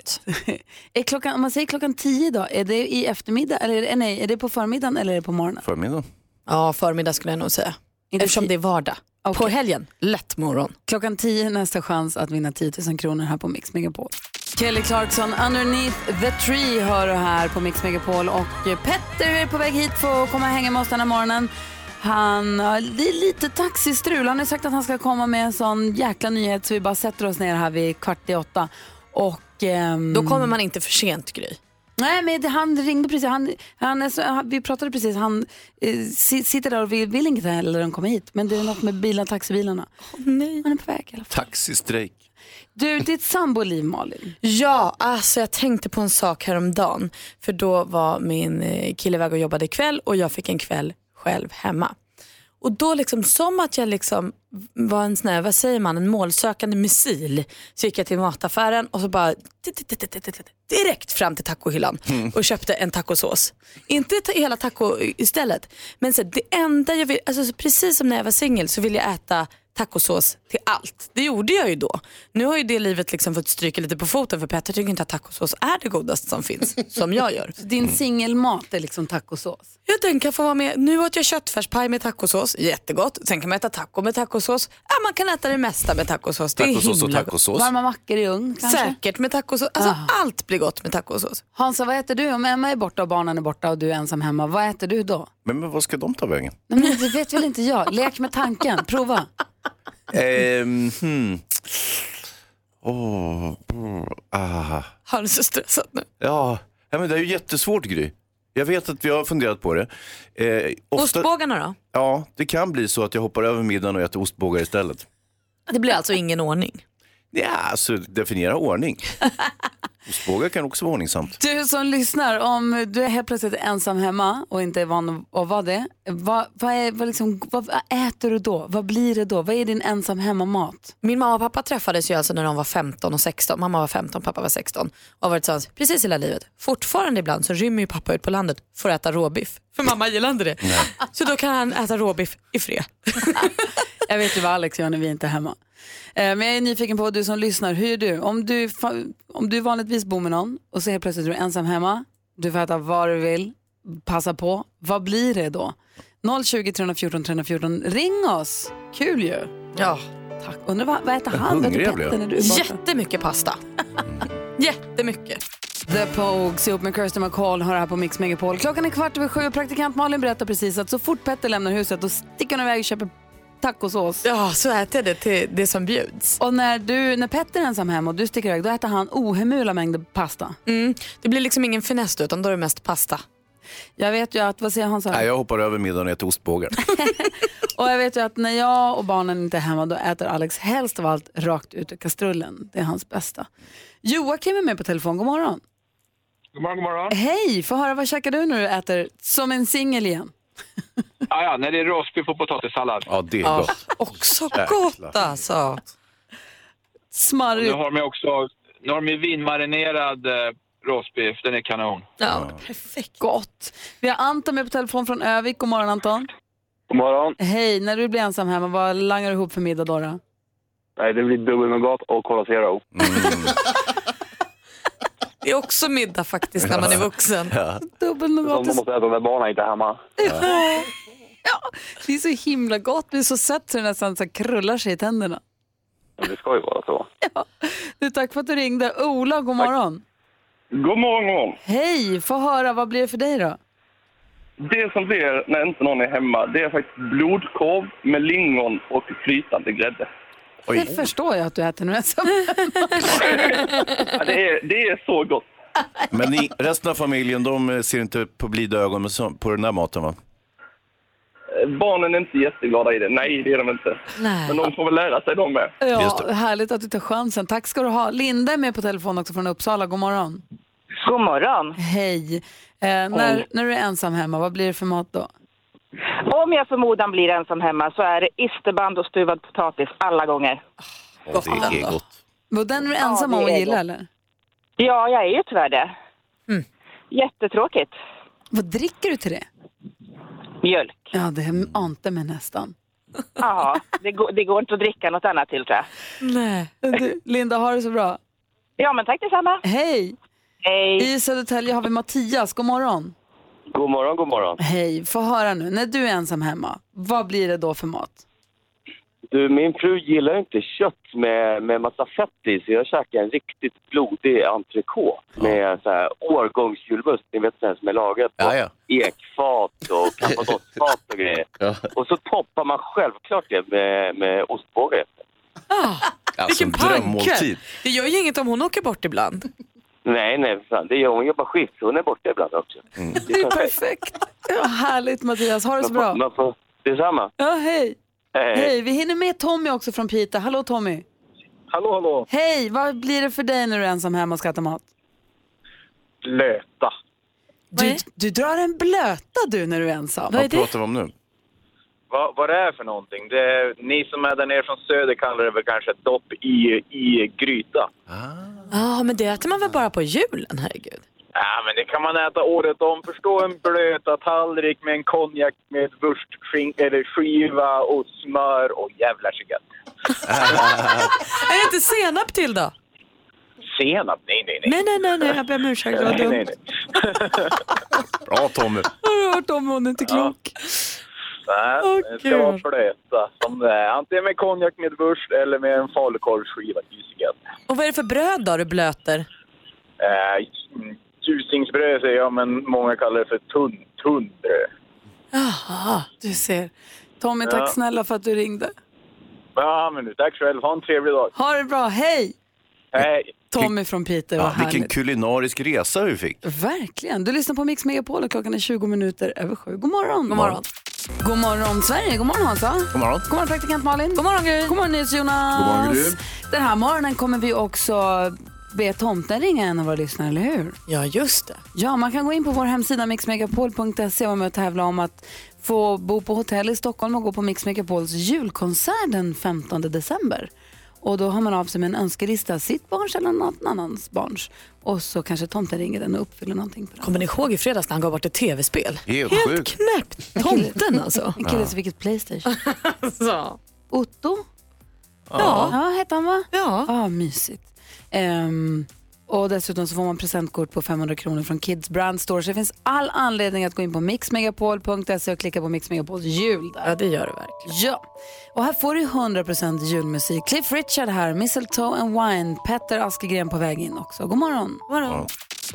Är klockan, om man säger klockan tio idag, är det i eftermiddag, eller är det, nej, är det på förmiddagen eller är det på morgonen?
Förmiddag.
Ja, förmiddag skulle jag nog säga. Eftersom det är vardag. På helgen, lätt morgon.
Klockan tio är nästa chans att vinna 10 000 kronor här på Mix Megapol. Kelly Clarkson, Underneath the Tree hör du här på Mix Megapol och Petter är på väg hit för att komma och hänga med oss den här morgonen. Han, ja, det är lite taxistrul. Han har ju sagt att han ska komma med en sån jäkla nyhet så vi bara sätter oss ner här vid kvart i åtta. Och, ehm,
Då kommer man inte för sent Gry.
Nej, men det, han ringde precis. Han, han, är så- han, vi pratade precis. Han eh, si, sitter där och vill, vill inte heller de kommer hit. Men det är något med bilen, taxibilarna.
nej.
Han är på väg i alla fall.
Taxistrejk.
Du, ditt samboliv Malin.
Ja, alltså jag tänkte på en sak häromdagen. För då var min eh, kille iväg och jobbade kväll och jag fick en kväll själv hemma. Och då liksom som att jag liksom var en sån här, vad säger man, en målsökande missil. Så gick jag till mataffären och så bara tit, tit, tit, tit, tit, tit, direkt fram till tacohyllan och köpte en tacosås. Inte ta- hela taco istället, men så här, det enda jag vill, alltså så precis som när jag var singel så ville jag äta tacosås till allt. Det gjorde jag ju då. Nu har ju det livet liksom fått stryka lite på foten för Petter tycker inte att tacosås är det godaste som finns, som jag gör.
Din singelmat är liksom tacosås.
Ja, den kan få vara med. Nu åt jag köttfärspaj med tacosås, jättegott. Sen kan man äta taco med tacosås. Ja, man kan äta det mesta med tacosås. Det är
Tacosås och
himla
tacosås.
gott.
Varma mackor i ugn kanske?
Säkert med tacosås. Alltså, allt blir gott med tacosås.
Hansa, vad äter du om Emma är borta och barnen är borta och du är ensam hemma? Vad äter du då?
Men, men vad ska de ta vägen?
Nej, men det vet väl inte jag. Lek med tanken. Prova.
Ehm, hmm. Åh, mm, ah.
Han är så stressad nu.
Ja, ja, men det är ju jättesvårt Gry. Jag vet att vi har funderat på det. Eh, ofta-
Ostbågarna då?
Ja, det kan bli så att jag hoppar över middagen och äter ostbågar istället.
Det blir alltså ingen ordning.
Ja, alltså definiera ordning. ostbågar kan också vara ordningsamt.
Du som lyssnar, om du är helt plötsligt ensam hemma och inte är van att vara det, vad, vad, är, vad, liksom, vad äter du då? Vad blir det då? Vad är din ensam hemma-mat?
Min mamma och pappa träffades ju alltså när de var 15 och 16. Mamma var 15, pappa var 16. Och har varit tillsammans precis hela livet. Fortfarande ibland så rymmer ju pappa ut på landet för att äta råbiff. För mamma gillar inte det. Så då kan han äta råbiff i fred.
Jag vet ju vad Alex gör när vi inte är hemma. Eh, Men jag är nyfiken på du som lyssnar, hur gör du? Om du, fa- om du vanligtvis bor med någon och så helt plötsligt är du ensam hemma, du får äta vad du vill, passa på, vad blir det då? 020 314 314, ring oss! Kul ju!
Ja.
Tack. Undrar vad, vad äter
Jag är
han? Vad
hungrig,
äter
jag blev.
Petter när du är borta?
Jättemycket pasta. Mm. Jättemycket.
The Pogues ihop med Kirsten McCall hör här på Mix Megapol. Klockan är kvart över sju och praktikant Malin berättar precis att så fort Petter lämnar huset då sticker han iväg och köper tacosås.
Ja, så äter jag det till det som bjuds.
Och när, du, när Petter är ensam hemma och du sticker iväg då äter han ohemula mängder pasta.
Mm. Det blir liksom ingen finess då, utan då är det mest pasta.
Jag vet ju att, vad säger han så
Nej, jag hoppar över middagen och äter ostbågar.
Och jag vet ju att när jag och barnen inte är hemma då äter Alex helst av allt rakt ut ur kastrullen. Det är hans bästa. Joakim är med på telefon, god morgon.
God morgon, god morgon.
Hej, få höra vad käkar du när du äter som en singel igen?
Ah, ja, nej, det är rostbiff och potatissallad.
Ja, det
Ja, gott. också gott,
alltså.
Smarrigt.
Nu har de ju också nu har de ju vinmarinerad eh, rostbiff. Den är kanon.
Ja,
perfekt. Gott. Vi har Anton med på telefon från Övik. God morgon Anton.
God morgon.
Hej, när du blir ensam hemma, vad langar du ihop för middag då? då?
Nej, det blir dubbelnougat och Cola Zero.
Det är också middag faktiskt när man är vuxen.
Dubbel
Som de
nougat.
Alltså, måste äta när barnen inte är hemma.
Ja. det är så himla gott. Det är så sött så det nästan så krullar sig i tänderna.
Men det ska ju vara så.
Du, tack för att du ringde. Ola, god morgon.
God morgon, god morgon.
Hej, få höra. Vad blir det för dig då?
Det som blir när inte någon är hemma, det är faktiskt blodkorv med lingon och flytande grädde.
Det förstår jag att du äter nu ensam.
Ja, det, är, det är så gott.
Men ni, resten av familjen, de eh, ser inte på blida ögon med så- på den där maten va?
Eh, Barnen är inte jätteglada i det. Nej, det är de inte.
Nej.
Men de får väl lära sig de med.
Ja, härligt att du tar chansen. Tack ska du ha. Linda är med på telefon också från Uppsala. God morgon.
God morgon.
Hej. Eh, när,
Hej.
när du är ensam hemma, vad blir det för mat då?
Om jag förmodan blir ensam hemma så är det isterband och stuvad potatis alla gånger.
Åh, det är gott.
Och den är du ensam
det
om och
är
gillar
gott.
eller?
Ja, jag är ju tyvärr det.
Mm.
Jättetråkigt.
Vad dricker du till det?
Mjölk.
Ja, det ante mig nästan.
Ja, det går, det går inte att dricka något annat till tror jag.
Nej. Du, Linda, har det så bra.
Ja, men tack detsamma.
Hej!
Hej!
I Södertälje har vi Mattias. God morgon.
God morgon, god morgon.
Hej, få höra nu. När du är ensam hemma, vad blir det då för mat?
Du, min fru gillar inte kött med, med massa fett i, så jag käkar en riktigt blodig entrecote med så här årgångsjulmust, ni vet den som är lagad på ekfat och kappadottfat och grejer. Och så toppar man självklart det med, med ostbåge.
Alltså,
Vilken panke!
drömmåltid.
Det gör ju inget om hon åker bort ibland.
Nej, nej, för fan. Det gör hon jobbar skift, så hon är borta ibland också.
Det är perfekt. Ja, härligt Mattias, ha det så bra.
Man får, detsamma.
Ja, hej.
Hej.
Hej, vi hinner med Tommy också från Pita. Hallå Tommy.
Hallå, hallå.
Hej, vad blir det för dig när du är ensam hemma och ska äta mat?
Löta.
Du, du drar en blöta du när du är ensam.
Vad är Vad det? pratar
vi om nu?
Vad, vad det är för någonting? Det är, ni som är där nere från söder kallar det väl kanske dopp i, i gryta.
Ja, men det äter man väl bara på julen, herregud.
Ja, men det kan man äta året om. Förstå en blöta tallrik med en konjak med wurstskink- eller skiva och smör och jävlar så gött.
Är det inte senap till då?
Senap? Nej, nej, nej.
Nej, nej, nej, nej, jag ber om ursäkt, det var
Nej, nej,
dumt.
nej.
Bra Tommy.
Har du hört om hon är inte klok?
Nej, det ska vara
kul.
blöta. Som det är. Antingen med konjak med wurst eller med en falukorvsskiva. Gysigt gött.
Och vad är det för bröd då du blöter?
Eh, Tusingsbröd säger jag, men många kallar det för tunn, tunn bröd.
Jaha, du ser. Tommy, tack
Ja.
snälla för att du ringde.
Ja, men du, tack själv. Ha en trevlig dag.
Ha det bra, hej!
Eh,
Hej!
Tommy från Piteå, vad
Ja, vilken
härligt.
kulinarisk resa vi fick.
Verkligen. Du lyssnar på Mix Megapol och klockan är 20 minuter över sju. God morgon.
God morgon.
God morgon Sverige, god morgon Hansa. God
morgon.
God morgon praktikant Malin. God morgon Gry. God morgon Jonas.
God morgon, Gry.
Den här morgonen kommer vi också be tomten ringa en av våra lyssnare, eller hur?
Ja, just det.
Ja, man kan gå in på vår hemsida mixmegapol.se och vara med och tävla om att få bo på hotell i Stockholm och gå på Mix Megapols julkonsert den 15 december. Och då har man av sig med en önskelista, sitt barns eller någon annans barns. Och så kanske tomten ringer den och uppfyller någonting på den.
Kommer ni ihåg i fredags när han gav bort ett tv-spel?
Helt,
Helt knäppt. Tomten alltså.
En kille som fick ett Playstation.
alltså.
Otto?
Ja.
ja hette han va? Ja. Ah, mysigt. Ehm, och dessutom så får man presentkort på 500 kronor från Kids Brand Store. Så det finns all anledning att gå in på mixmegapol.se och klicka på Mix Megapols jul där.
Ja, det gör det verkligen.
Ja. Och här får du 100% julmusik. Cliff Richard här, Mistletoe and Wine. Petter Askegren på väg in också. God morgon.
morgon.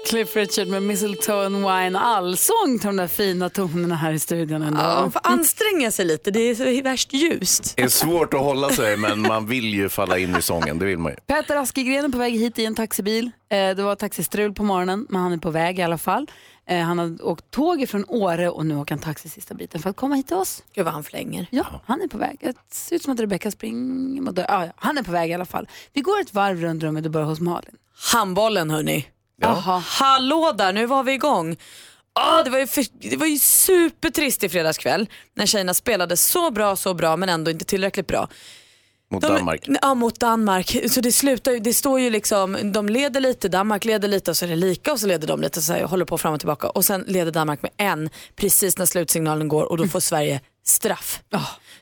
Cliff Richard med Mistletoe and Wine. Allsång till de där fina tonerna här i studion ändå.
Ja, man får anstränga sig lite. Det är så värst ljust.
Det är svårt att hålla sig men man vill ju falla in i sången, det vill man ju.
Peter Askegren är på väg hit i en taxibil. Eh, det var taxistrul på morgonen, men han är på väg i alla fall. Eh, han har åkt tåg från Åre och nu åker han taxi sista biten för att komma hit till oss.
Gud vad han flänger.
Ja, han är på väg. Det ser ut som att Rebecka springer mot dörren. Ah, ja, han är på väg i alla fall. Vi går ett varv runt rummet och börjar hos Malin.
Handbollen hörni.
Jaha.
Hallå där, nu var vi igång. Ah, det, var ju för, det var ju supertrist i fredagskväll när tjejerna spelade så bra, så bra men ändå inte tillräckligt bra.
Mot
de,
Danmark.
Ja, mot Danmark. Så det slutar ju, det står ju liksom, de leder lite, Danmark leder lite och så är det lika och så leder de lite så här, håller på fram och tillbaka och sen leder Danmark med en precis när slutsignalen går och då får Sverige straff.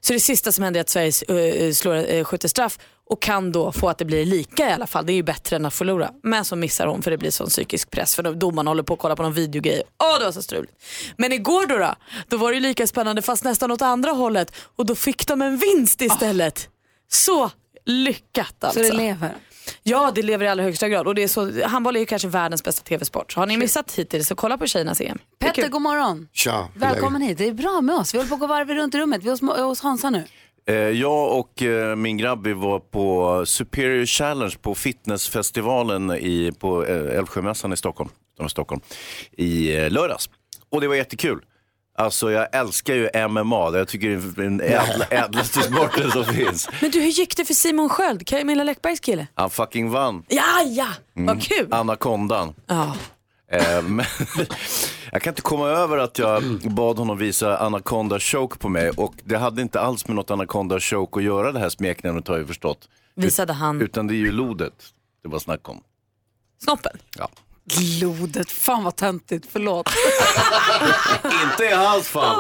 Så det sista som händer är att Sverige eh, slår, eh, skjuter straff och kan då få att det blir lika i alla fall. Det är ju bättre än att förlora. Men så missar hon för det blir sån psykisk press för då- domaren håller på att kolla på någon videogrej. Åh, det var så struligt. Men igår då, då, då var det ju lika spännande fast nästan åt andra hållet och då fick de en vinst istället. Så lyckat alltså.
Så det lever?
Ja, det lever i allra högsta grad. Och det är så, handboll är ju kanske världens bästa tv-sport. Så har ni missat hittills så kolla på tjejernas EM. Det är
Petter,
kul.
god morgon.
Tja,
Välkommen hit. Det är bra med oss. Vi håller på att gå varv runt i rummet. Vi är hos, hos Hansa nu.
Eh, Jag och eh, min grabb vi var på Superior Challenge på fitnessfestivalen i, på eh, Älvsjömässan i Stockholm, utanför Stockholm i eh, lördags. Och det var jättekul. Alltså jag älskar ju MMA, jag tycker det är den ädla, ädlaste sporten som finns.
Men du, hur gick det för Simon Sköld, Camilla Läckbergs kille?
Han fucking vann.
Ja, ja, vad kul.
Anakondan.
Ja.
Eh, men jag kan inte komma över att jag bad honom visa Anaconda Choke på mig och det hade inte alls med något Anaconda Choke att göra det här smeknamnet har jag ju förstått.
Visade han
Utan det är ju lodet det var snack om.
snoppen?
Ja.
Blodet, fan vad töntigt, förlåt.
Inte i hans fall.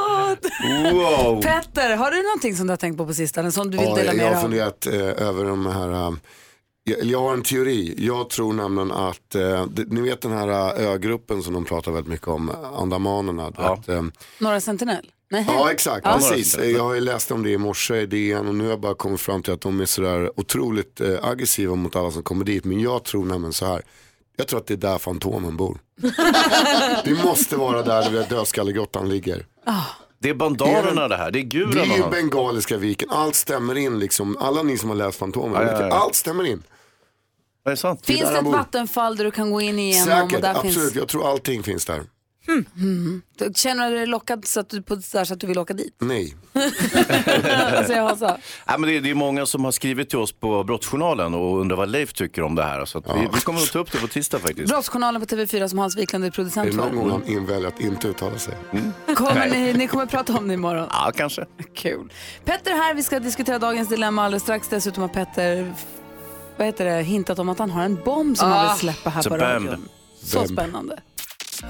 Wow.
Petter, har du någonting som du har tänkt på på sistone som du vill
Ja,
dela
jag,
med dig
har
av?
funderat eh, över de här, eh, jag, jag har en teori. Jag tror nämligen att, eh, det, ni vet den här eh, ögruppen som de pratar väldigt mycket om, eh, andamanerna. Att, eh,
Norra Sentinel? Nej.
ja exakt,
Ja.
precis. Eh, Jag har ju läst om det i morse i DN och nu har jag bara kommit fram till att de är sådär otroligt eh, aggressiva mot alla som kommer dit. Men jag tror nämligen så här, jag tror att det är där Fantomen bor. det måste vara där du vet, dödskallegrottan ligger.
Det är bandanerna det här, det är
Det
gudarna.
är ju
han-
Bengaliska viken, allt stämmer in liksom. Alla ni som har läst Fantomen,
Ja, ja, ja.
allt stämmer in.
Är det sant?
Finns det ett vattenfall där du kan gå in igenom? och
Säkert,
där
absolut.
Finns...
Jag tror allting finns där.
Mm. Du- Känner du dig lockad så att du, på, så här, så att du vill åka dit?
Nej.
alltså, jag har så.
Nej, men det, är, det är många som har skrivit till oss på Brottsjournalen och undrar vad Leif tycker om det här. Så att vi, vi kommer att ta upp det på tisdag faktiskt.
Brottsjournalen på TV4 som Hans Wiklund är
Är
producent
det någon
för.
gång han in- väljer att inte uttala sig?
Kommer
Nej.
ni, ni kommer prata om det imorgon?
Mm. Ja, kanske.
Kul. Petter är här, vi ska diskutera dagens dilemma alldeles strax. Dessutom har Petter f- vad heter det, hintat om att han har en bomb som han vill släppa här på radion. Så spännande.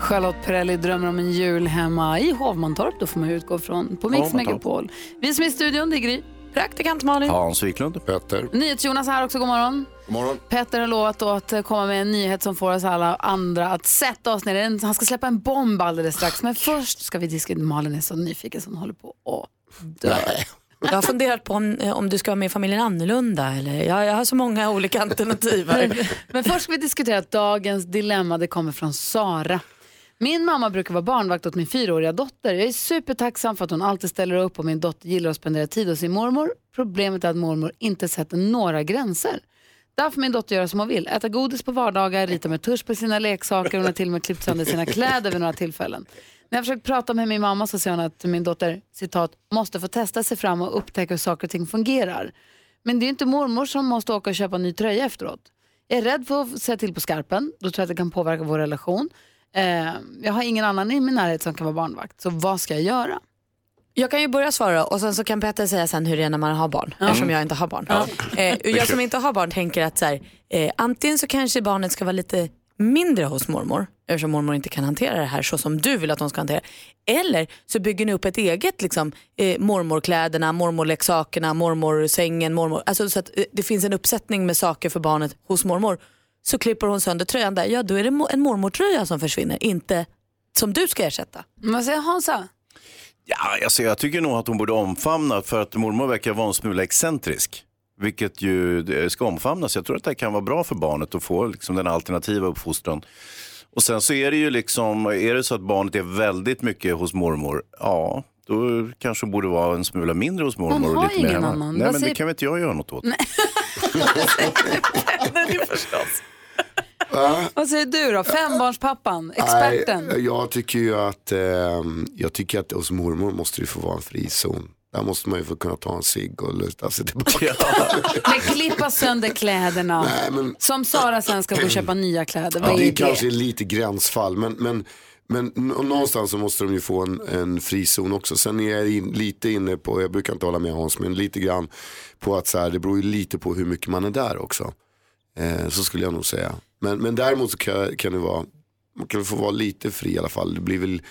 Charlotte Perrelli drömmer om en jul hemma i Hovmantorp, då får man ju utgå från, på Mix
Hovmantorp.
Megapol. Vi som är i studion, det är Gry. Praktikant Malin.
Hans Wiklund.
Petter.
NyhetsJonas här också, god morgon.
God morgon.
Petter har lovat då att eh, komma med en nyhet som får oss alla andra att sätta oss ner. En- Han ska släppa en bomb alldeles strax, men först ska vi diskutera. Malin är så nyfiken som hon håller på att dö.
Jag har funderat på om, eh, om du ska vara med i familjen annorlunda. Eller? Jag, jag har så många olika alternativ här.
Men först ska vi diskutera att dagens dilemma. Det kommer från Sara. Min mamma brukar vara barnvakt åt min fyraåriga dotter. Jag är supertacksam för att hon alltid ställer upp och min dotter gillar att spendera tid hos sin mormor. Problemet är att mormor inte sätter några gränser. Där får min dotter göra som hon vill. Äta godis på vardagar, rita med tusch på sina leksaker. Hon har till och med klippt sönder sina kläder vid några tillfällen. När jag försökt prata med min mamma så säger hon att min dotter, citat, måste få testa sig fram och upptäcka hur saker och ting fungerar. Men det är ju inte mormor som måste åka och köpa en ny tröja efteråt. Jag är rädd för att säga till på skarpen. Då tror jag att det kan påverka vår relation. Eh, jag har ingen annan i min närhet som kan vara barnvakt. Så vad ska jag göra?
Jag kan ju börja svara och sen så kan Petter säga sen hur det är när man har barn.
Ja.
Eftersom jag inte har barn. Eh, och jag som inte har barn tänker att så här, eh, antingen så kanske barnet ska vara lite mindre hos mormor eftersom mormor inte kan hantera det här så som du vill att hon ska hantera Eller så bygger ni upp ett eget liksom, eh, mormorkläderna, mormorleksakerna, mormorsängen, mormor. Alltså så att eh, det finns en uppsättning med saker för barnet hos mormor. Så klipper hon sönder tröjan där, ja då är det mo- en mormortröja som försvinner, inte som du ska ersätta.
Vad säger Hansa?
Ja, alltså, jag tycker nog att hon borde omfamna för att mormor verkar vara en smula excentrisk. Vilket ju eh, ska omfamnas. Jag tror att det här kan vara bra för barnet att få liksom, den alternativa uppfostran. Och sen så är det ju liksom, är det så att barnet är väldigt mycket hos mormor, ja då kanske hon borde vara en smula mindre hos mormor.
Hon
och
har
lite mer
ingen
hemma.
annan.
Nej
Vad
men
säger-
det kan väl inte jag göra något åt.
Vad säger du då? Fembarnspappan, experten.
Nej, jag tycker ju att, eh, jag tycker att hos mormor måste det få vara en frizon. Där måste man ju få kunna ta en cigg och luta sig tillbaka.
Men klippa sönder kläderna.
Nej, men-
Som Sara sen ska gå och köpa nya kläder. Vad
Ja,
är
det
det?
är kanske lite gränsfall, men, men, men nå- någonstans så måste de ju få en, en frizon också. Sen är jag in, lite inne på, jag brukar inte hålla med Hans, men lite grann på att så här, det beror ju lite på hur mycket man är där också. Eh, så skulle jag nog säga. Men, men däremot så kan, kan det vara, man kan få vara lite fri i alla fall. Det blir väl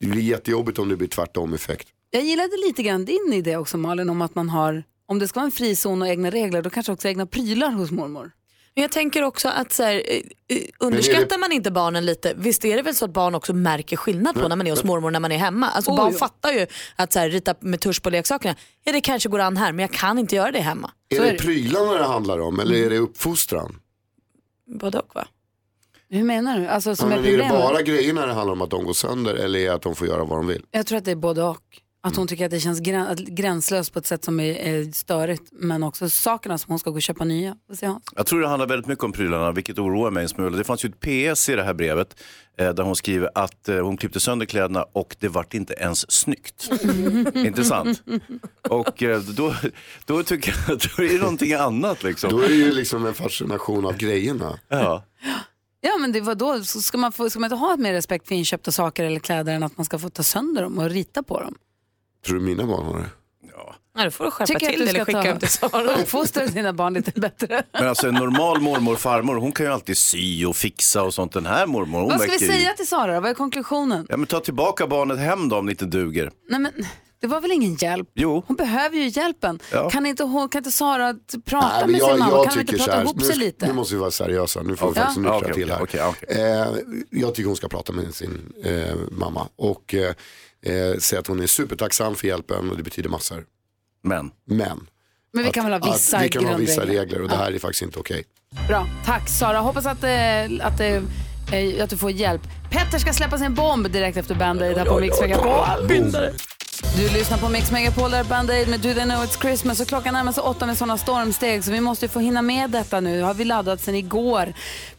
det blir jättejobbigt om det blir tvärtom effekt.
Jag gillade lite grann din idé också Malin om att man har, om det ska vara en frizon och egna regler, då kanske också egna prylar hos mormor.
Men jag tänker också att så här, eh, eh, underskattar man inte barnen lite, visst är det väl så att barn också märker skillnad på
Nej,
när man är hos
nej.
mormor och när man är hemma. Alltså
Oh,
barn
ja.
fattar ju att så här, rita med tusch på leksakerna, ja det kanske går an här men jag kan inte göra det hemma.
Är det prylarna det handlar om eller är det uppfostran?
Både och va?
Hur menar du? Alltså
Ja,
som är
men är det
problemet?
bara grejerna det handlar om att de går sönder eller är det att de får göra vad de vill?
Jag tror att det är både och. Att hon tycker att det känns grän, att- gränslöst på ett sätt som är, är störigt. Men också sakerna som hon ska gå och köpa nya. Vad säger Hans?
Jag tror det handlar väldigt mycket om prylarna, vilket oroar mig en smula. Det fanns ju ett PS i det här brevet eh, där hon skriver att eh, hon klippte sönder kläderna och det vart inte ens snyggt. Intressant. Och eh, då, då tycker jag att då är det någonting annat liksom.
Då är det ju liksom en fascination av grejerna.
Ja.
Ja men det var då så ska, man få, ska man inte ha mer respekt för inköpta saker eller kläder än att man ska få ta sönder dem och rita på dem?
Tror du mina barn har det?
Nej, då får du skärpa
Tycker jag
till
att
dig eller
du ska
skicka
ta-
dem till Sara.
Uppfostra dina barn lite bättre.
Men alltså en normal mormor och farmor, hon kan ju alltid sy och fixa och sånt. Den här mormor, hon
Vad ska vi
verkar ju-
säga till Sara då? Vad är konklusionen?
Ja men ta tillbaka barnet hem då om det inte duger.
Nej, men, det var väl ingen hjälp?
Jo.
Hon behöver ju hjälpen.
Ja.
Kan, inte, hon- kan inte Sara t- prata
Nej, men
med
jag,
sin mamma?
jag
kan hon
tycker
inte
så
prata
här,
ihop
nu,
sig lite?
nu måste vi vara seriösa, nu får vi
Okej.
faktiskt nyktra
Ja, okej,
till här. Eh, jag tycker hon ska prata med sin eh, mamma och eh, eh, säga att hon är supertacksam för hjälpen och det betyder massor.
Men?
Men.
Men vi kan väl ha
att-
vissa
Vi kan ha vissa
grundregler.
regler och det här är faktiskt inte okej.
Bra, tack Sara. Hoppas att, eh, att, eh, eh, att du får hjälp. Petter ska släppa sin bomb direkt efter Band-Aid här på Mix Megapol. Du lyssnar på Mix Megapol där Band-Aid med Do They Know It's Christmas och klockan närmar sig åtta med sådana stormsteg så vi måste ju få hinna med detta nu. Har vi laddat sedan igår.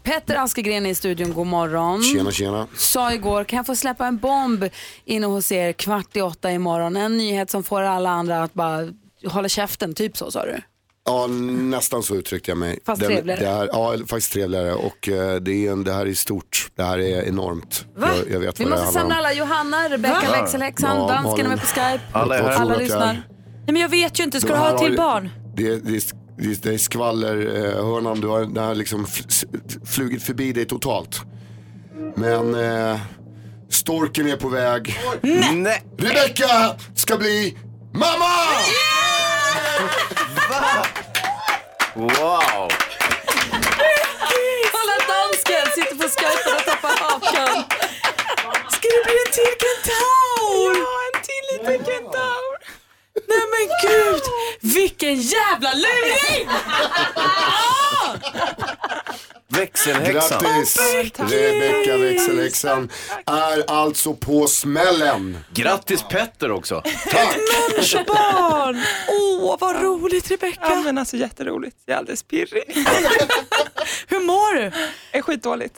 Petter Askegren är i studion, god morgon.
Tjena tjena.
Sa igår, kan jag få släppa en bomb inne hos er kvart i åtta imorgon? En nyhet som får alla andra att bara hålla käften, typ så sa du.
Ja, nästan så uttryckte jag mig.
Fast trevligare.
Det här, ja, eller faktiskt trevligare. Och eh, det, är en, det här är stort. Det här är enormt. Jag, jag vet
Vi
vad det
måste
handlar om.
samla alla. Johanna, Rebecka,
Va?
växelhäxan,
Ja,
dansken är
Malin.
med på Skype.
Alla är här.
Alla
Frågat
lyssnar.
är-
Nej, men jag vet ju inte, ska
De
du ha
här
ett
har
till
ju-
barn?
Det, det, det, det är skvallerhörnan, du har, det har liksom f- s- flugit förbi dig totalt. Men eh, storken är på väg.
Mm. Nej.
Rebecka ska bli mamma!
Wow!
Kolla dansken sitter på Skype och tappar hakan.
Ska det bli en till kentaur? Ja, en till liten kentaur. Nej men gud, vilken jävla luring! Ah!
Växelhäxan.
Grattis! Rebecka växelhäxan är alltså på smällen.
Grattis Petter också.
Mensbarn! Åh, vad roligt Rebecka. Ja, men alltså jätteroligt. Jag är alldeles pirrig. Hur mår du? Är skitdåligt.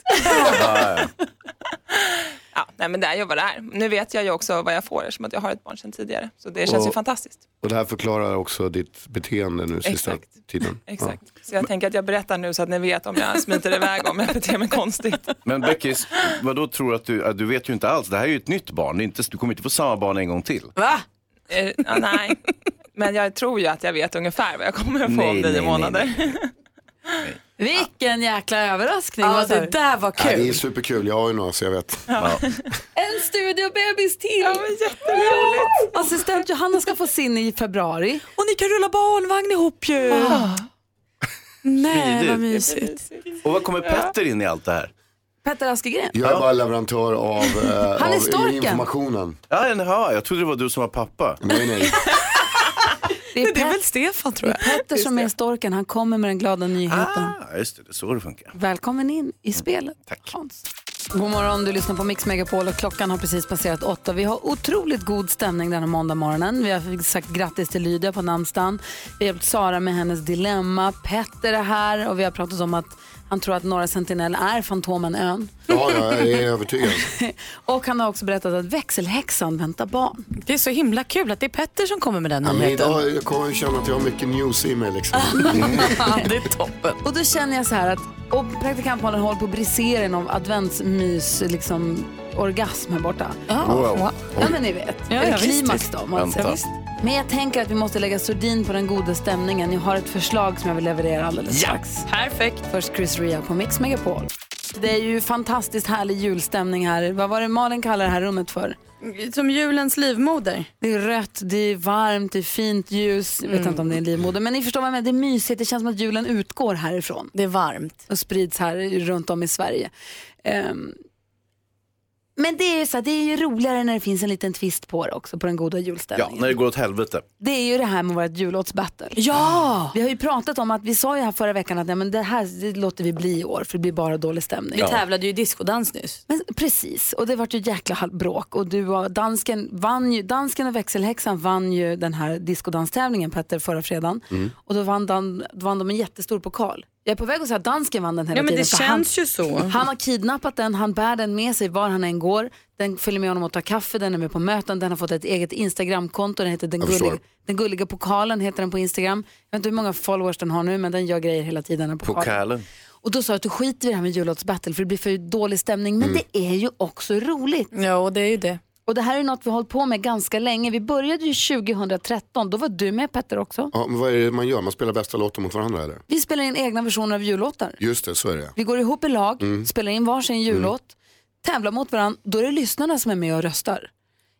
Ja, nej, men det är ju vad det är. Nu vet jag ju också vad jag får eftersom att jag har ett barn sedan tidigare. Så det känns ju
Och-
fantastiskt.
Och det här förklarar också ditt beteende nu sista tiden.
Exakt. Så jag tänker att jag berättar nu så att ni vet om jag smiter iväg om jag beter mig konstigt.
Men Beckis, vadå tror du att du, att du vet ju inte alls, det här är ju ett nytt barn, det är inte, du kommer inte få samma barn en gång till.
Va? Eh, Ja, nej, men jag tror ju att jag vet ungefär vad jag kommer att få
Nej,
om
nej,
nio
nej,
månader.
Vilken jäkla överraskning.
Ja,
Vad sa
det
du?
där var
Ja, det är superkul, jag har ju några så jag vet.
En studiobebis till! Ja, men
jätteroligt.
Assistent Johanna ska få sin i februari.
Och ni kan rulla barnvagn ihop ju.
Ah.
Nej, vad
Smidigt.
mysigt.
Och vad kommer Petter in i allt det här?
Petter Askegren.
Jag är bara leverantör av, eh,
Han är
av
storken.
informationen.
Ja, jaha, jag trodde det var du som var pappa.
Nej, nej.
Det är, Pet-
väl Stefan tror jag.
Petter som är storken. Han kommer med den glada nyheten.
Ja, Ah, just det, det är så det funkar.
Välkommen in i spelet, Hans. God morgon, du lyssnar på Mix Megapol och klockan har precis passerat åtta. Vi har otroligt god stämning denna måndag morgonen. Vi har sagt grattis till Lydia på namnsdagen. Vi har hjälpt Sara med hennes dilemma. Petter är här och vi har pratat om att han tror att Norra Sentinel är Fantomenön.
Ja, jag är övertygad.
Och han har också berättat att växelhäxan väntar barn.
Det är så himla kul att det är Petter som kommer med den
Ja, men
nyheten.
idag jag kommer jag känna att jag har mycket news i mig liksom.
det är toppen.
Och då känner jag så här att och praktikantmålen håller på att brisera i någon adventsmys liksom, orgasm här borta.
Wow.
Ja,
Oj.
men ni vet.
Ja,
Eller
ja, visst,
klimax
visst.
då. om man
Vänta.
säger.
Ja, visst.
Men jag tänker att vi måste lägga sordin på den goda stämningen. Jag har ett förslag som jag vill leverera alldeles
Ja,
strax. Perfekt. Först Chris Ria på Mix Megapol. Det är ju fantastiskt härlig julstämning här. Vad var det Malin kallade det här rummet för?
Som julens livmoder.
Det är rött, det är varmt, det är fint ljus. Jag vet
Mm.
inte om det är en livmoder, men ni förstår vad jag menar. Det är mysigt, det känns som att julen utgår härifrån.
Det är varmt.
Och sprids här runt om i Sverige. Ehm, men det är, ju så här, det är ju roligare när det finns en liten twist på det också, på den goda
Ja,
julstämningen.
när det går åt helvete.
Det är ju det här med vårt jullåtsbattle.
Ja!
Vi har ju pratat om att, vi sa ju här förra veckan att nej, men det här det låter vi bli i år för det blir bara dålig stämning.
Vi tävlade ju i discodans nyss.
Men precis, och det vart ju jäkla hal- bråk. Och du och dansken, vann ju, dansken och växelhäxan vann ju den här discodanstävlingen Petter förra fredagen. Och då vann, dan, då vann de en jättestor pokal. Jag är på väg att säga att dansken vann den hela
Ja, men
tiden.
det
för
känns
han,
ju så.
Han har kidnappat den, han bär den med sig var han än går. Den följer med honom och tar kaffe, den är med på möten, den har fått ett eget Instagramkonto. Den heter den
Jag förstår.
gulliga, den gulliga pokalen heter den på Instagram. Jag vet inte hur många followers den har nu men den gör grejer hela tiden. Den pokalen.
Pokalen.
Och då sa jag att du skiter i det här med jullåtsbattle för det blir för dålig stämning. Men det är ju också roligt.
Ja, och det är ju det.
Och det här är något vi har hållit på med ganska länge. Vi började ju 2013, då var du med Petter också.
Ja, men vad är det man gör? Man spelar bästa låten mot varandra eller?
Vi spelar in egna versioner av jullåtar.
Just det, så är det.
Vi går ihop i lag,
Mm.
spelar in varsin jullåt, tävlar mot varandra. Då är det lyssnarna som är med och röstar.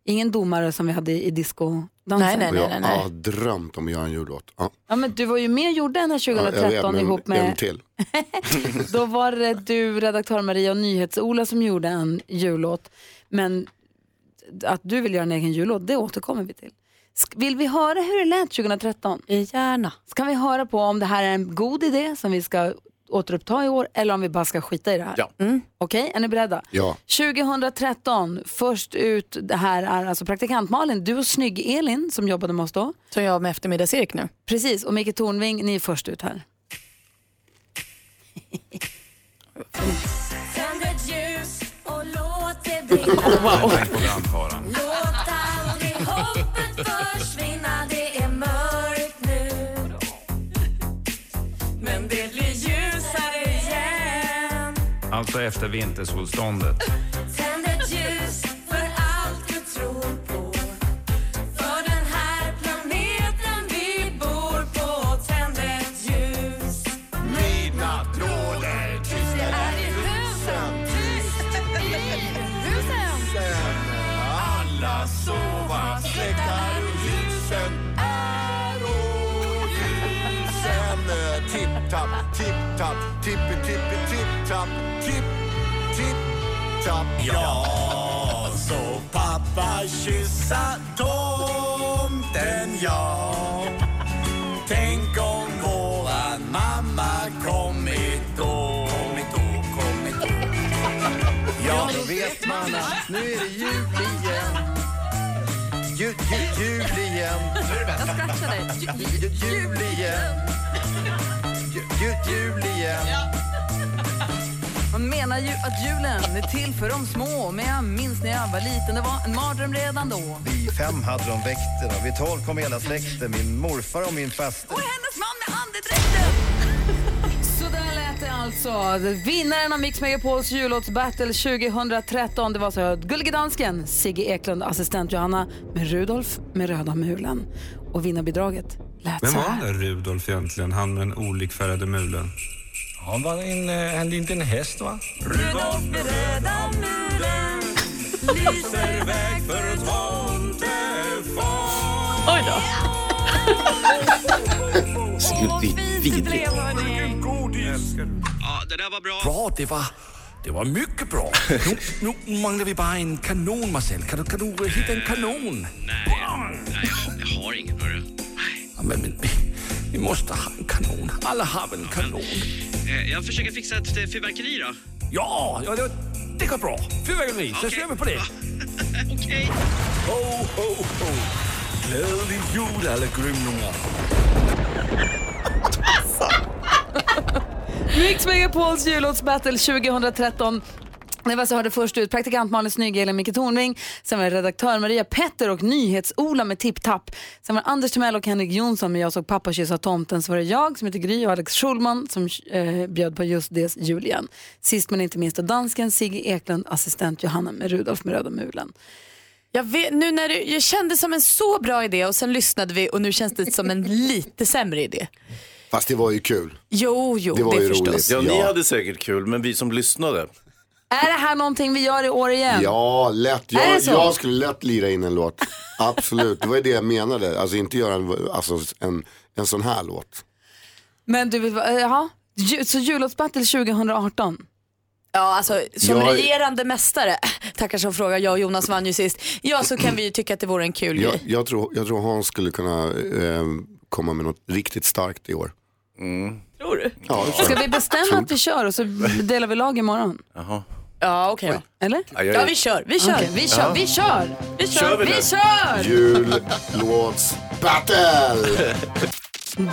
Ingen domare som vi hade i i discodansen.
Och jag har drömt om att göra en jullåt. Ja.
Ja, men du var ju med och gjorde den här
Ja, jag
2013
vet, men
ihop med...
En till.
Då var det du, redaktör Maria och NyhetsOla som gjorde en jullåt. Men att du vill göra en egen jullåt, det återkommer vi till. Sk- Vill vi höra hur det lät 2013?
Gärna.
Ska vi höra på om det här är en god idé som vi ska återuppta i år eller om vi bara ska skita i det här?
Ja.
Mm. Okej, är ni beredda?
Ja.
2013, först ut det här är alltså praktikant Malin, du och snygg Elin som jobbade med oss då.
Som jag med eftermiddagsirk nu.
Precis, och Micke Tornving, ni är först ut här.
Tänd ett ljus och låt det
Wow.
Låt aldrig hoppet försvinna, det är mörkt nu. Men det blir ljusare igen.
Alltså efter vintersolståndet.
Tänd ett ljus för allt du tror på. För den här planeten vi bor på. Tänd ett ljus. Midnatt råder, tyst är i husen. Tyst i husen. Alla sova, släck är ljusen. Är och ljusen. eh, Tipp-tapp, tipp-tapp, tippi-tippi-tipp-tapp. Tipp-tipp. Ja, så pappa kyssa tomten ja Tänk om våran mamma kommit då Kommit då, kommit då Ja, då vet man att nu är det jul igen Ju, ju, jul igen Jag skrattade. Ju, jul igen Ju, ju, jul igen
Man menar ju att julen är till för de små Men jag minns när jag var liten, det var en mardröm redan då
Vi fem hade de väkter och vid tolv kom hela släkten, min morfar och min faster.
hennes man med andedräkten! Så där lät det alltså. Vinnaren av Mix Megapols jullåtsbattle 2013 det var så här, Gullige Dansken, Sigge Eklund, assistent Johanna med Rudolf med röda mulen. Och vinnarbidraget lät
Vem
så
var
här.
den där Rudolf egentligen? Han med den olikfärgade mulen. Han var en, han inte en häst va?
Rudolf med röda mulen lyser väg för tomtefar. Oj då.
Vidrigt.
Ja, det där var bra. Bra, det var... Det var mycket bra. Nu, nu manglar vi bara en kanon, Marcel. Kan du, kan du eh, hitta en kanon? Nej, nej jag har ingen, hörru. Men, men vi, vi måste ha en kanon. Alla har väl en kanon?
Jag försöker fixa ett eh, fyrverkeri då.
Ja, ja det, det går bra. Fyrverkeri, så kör vi på det. Okej. Ho, ho, ho. Glädjelig jul alla grymningar.
Mix Megapols jullåtsbattle 2013. Det var så jag hörde först ut praktikant Malin Snygg, Elin Micke Tornving, sen var det redaktör Maria Petter och NyhetsOla med Tipp Tapp. Sen var det Anders Timell och Henrik Jonsson med Jag såg pappa kyssa tomten. Så var det jag som heter Gry och Alex Schulman som eh, bjöd på just det jul igen. Sist men inte minst då dansken Sigge Eklund, assistent Johanna med Rudolf med röda mulen.
Jag, vet, nu när det, jag kände som en så bra idé och sen lyssnade vi och nu känns det som en lite sämre idé.
Fast det var ju kul.
Jo, jo, det, förstås.
Ja, ni
Ja.
hade säkert kul, men vi som lyssnade.
Är det här någonting vi gör i år igen?
Ja, lätt.
Är det
Jag,
så?
jag skulle lätt lira in en låt. Absolut, det var ju det jag menade. Alltså inte göra en, alltså, en, en sån här låt.
Men du, eh, jaha. Ju- Så jullåtsbattle 2018?
Ja, alltså som
Jag-
regerande mästare, tackar som frågar, jag och Jonas vann ju sist. Ja, så kan vi ju tycka att det vore en kul
Jag,
grej.
jag, tror, jag tror Hans skulle kunna eh, komma med något riktigt starkt i år.
Tror du?
Ja, det tror
Ska
jag.
vi bestämma att vi kör och så delar vi lag imorgon?
Jaha.
Ja, okej
då. Eller?
Ja, jag- Ja, vi
kör, vi kör,
Okej.
vi kör,
Ja. vi kör, vi kör,
Kör vi
vi
nu?
kör!
Jullåtsbattle!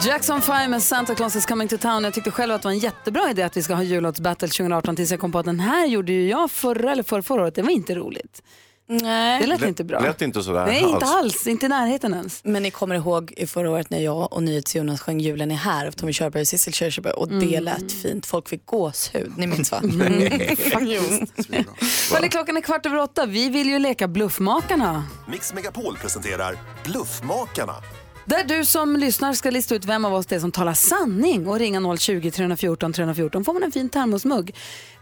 Jackson 5 med Santa Claus is coming to town. Jag tyckte själv att det var en jättebra idé att vi ska ha jullåtsbattle 2018 tills jag kom på att den här gjorde ju jag förra eller förra, förra året. Det var inte roligt.
Nej.
Det lät inte bra.
Lät inte sådär
Nej, inte alls. Inte i närheten ens.
Men ni kommer ihåg i förra året när jag och NyhetsJonas sjöng Julen är här av Tommy Körberg och Sissel Kyrkjebø och det
Mm.
lät fint. Folk fick gåshud. Ni minns va?
Hörrni, klockan är kvart över åtta. Vi vill ju leka Bluffmakarna.
Mix Megapol presenterar Bluffmakarna.
Där du som lyssnar ska lista ut vem av oss det är som talar sanning och ringa 020-314 314 får man en fin termosmugg.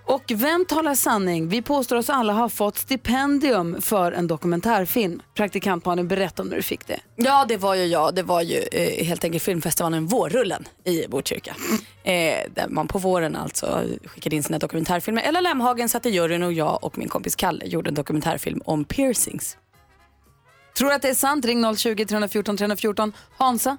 Och vem talar sanning? Vi påstår oss alla ha fått stipendium för en dokumentärfilm. Praktikant Malin, berätta om när du fick det.
Ja, det var ju jag. Det var ju eh, helt enkelt filmfestivalen Vårrullen i Botkyrka. Eh, där man på våren alltså skickade in sina dokumentärfilmer. Ella Lämhagen satt i juryn och jag och min kompis Kalle gjorde en dokumentärfilm om piercings.
Tror du att det är sant? Ring 020-314 314. Hansa?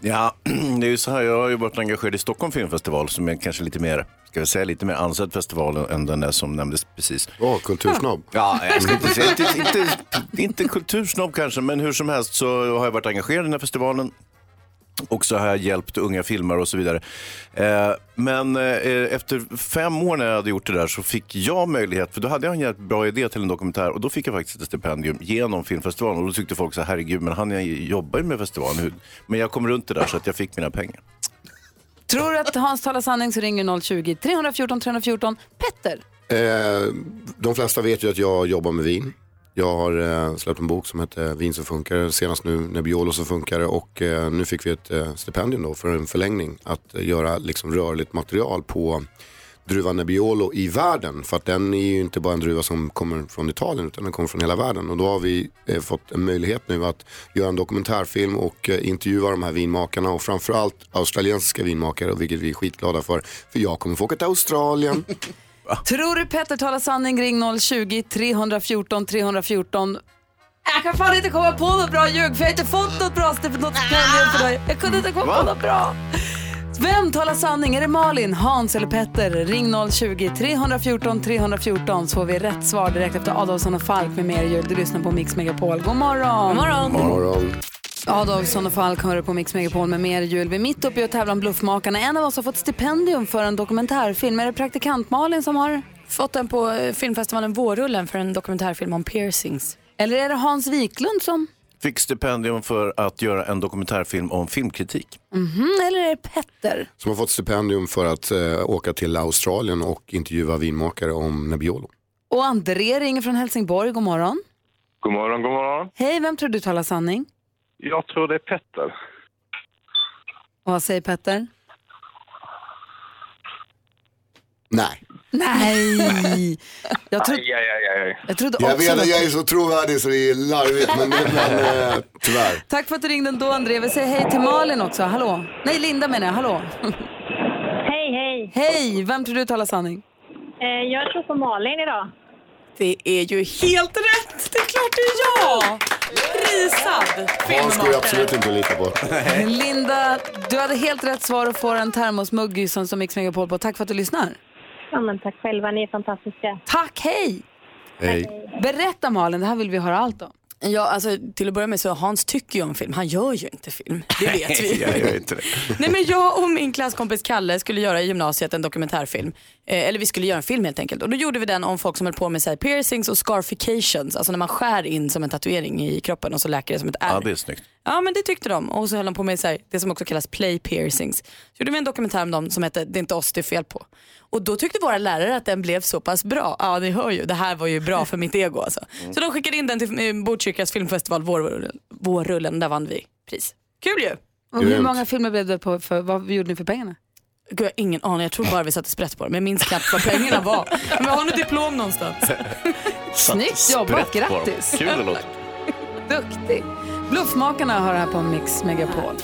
Ja, det är ju så här, jag har ju varit engagerad i Stockholm filmfestival som är kanske lite mer, ska vi säga lite mer ansedd festival än den där som nämndes precis.
Ja, kultursnobb.
Ja, jag ska inte säga, inte, inte, inte kultursnobb kanske, men hur som helst så har jag varit engagerad i den här festivalen. Och så har jag hjälpt unga filmare och så vidare. Eh, men eh, efter fem år när jag hade gjort det där så fick jag möjlighet, för då hade jag en jävligt bra idé till en dokumentär och då fick jag faktiskt ett stipendium genom filmfestivalen. Och då tyckte folk så här, herregud, men han jag jobbar ju med festivalen. Hur? Men jag kom runt det där så att jag fick mina pengar.
Tror du att Hans talar sanning så ringer 020-314 314. Petter?
Eh, de flesta vet ju att jag jobbar med vin. Jag har eh, släppt en bok som heter Vin som funkar, senast nu Nebbiolo som funkar och eh, nu fick vi ett eh, stipendium då för en förlängning att eh, göra liksom rörligt material på druvan Nebbiolo i världen. För att den är ju inte bara en druva som kommer från Italien utan den kommer från hela världen. Och då har vi eh, fått en möjlighet nu att göra en dokumentärfilm och eh, intervjua de här vinmakarna och framförallt australiensiska vinmakare och vilket vi är skitglada för. För jag kommer få åka till Australien.
Tror du Petter talar sanning? Ring 020-314 314. Jag kan fan inte komma på något bra ljug för jag har inte fått något bra st- något stipendium för dig. Jag kunde inte komma på något bra. Vem talar sanning? Är det Malin, Hans eller Petter? Ring 020-314 314 så får vi rätt svar direkt efter Adolfsson och Falk med mer jul. Du lyssnar på Mix Megapol. God morgon!
God morgon.
God morgon.
Adolfsson och Falk hör du på Mix Megapol med mer jul. Vi är mitt uppe i att tävla om Bluffmakarna. En av oss har fått stipendium för en dokumentärfilm. Är det praktikant Malin som har?
Fått den på eh, filmfestivalen Vårrullen för en dokumentärfilm om piercings.
Eller är det Hans Wiklund som?
Fick stipendium för att göra en dokumentärfilm om filmkritik.
Mhm, eller är det Petter?
Som har fått stipendium för att eh, åka till Australien och intervjua vinmakare om Nebbiolo.
Och André ringer från Helsingborg. God morgon.
God morgon, god morgon.
Hej, vem tror du talar sanning?
Jag tror det är Petter.
Och vad säger Petter?
Nej.
Nej! Jag, tro-
Aj, aj, aj, aj.
jag trodde
Jag
också
vet att
något-
jag är så trovärdig så det är larvigt men, men eh, tyvärr.
Tack för att du ringde ändå, André. Vi säger hej till Malin också. Hallå? Nej, Linda menar jag. Hallå?
Hej, hej.
Hej! Vem tror du talar sanning?
Eh, jag tror på Malin idag.
Det är ju helt rätt! Det är klart det är jag! Prisad!
Hans går ju absolut inte att lita på.
Linda, du hade helt rätt svar och får en termosmugg som, som Mix Megapol på. Tack för att du lyssnar.
Ja, men tack själva, ni är fantastiska.
Tack, hej!
Hej.
Berätta Malin, det här vill vi höra allt om.
Ja, alltså, till att börja med så Hans tycker ju om film. Han gör ju inte film. Det vet vi.
jag gör inte det.
Nej, men jag och min klasskompis Kalle skulle göra i gymnasiet en dokumentärfilm. Eh, eller vi skulle göra en film helt enkelt. Och då gjorde vi den om folk som höll på med så här, piercings och scarifications. Alltså när man skär in som en tatuering i kroppen och så läker det som ett ärr.
Ja, det är snyggt.
Ja men det tyckte de och så höll de på med så här, det som också kallas play piercings. Så gjorde vi en dokumentär om dem som hette Det är inte oss det är fel på. Och då tyckte våra lärare att den blev så pass bra. Ja ni hör ju, det här var ju bra för mitt ego alltså. Så de skickade in den till eh, Botkyrkas filmfestival Vårrullen, Vårrullen där vann vi pris. Kul ju!
Och hur många filmer blev det på, för, vad gjorde ni för pengarna?
Gud, jag har ingen aning, jag tror bara vi satte sprätt på dem. Jag minns knappt vad pengarna var. Men jag har något diplom någonstans.
Snyggt jobbat, grattis! Duktig! Bluffmakarna har det här på Mix Megapol.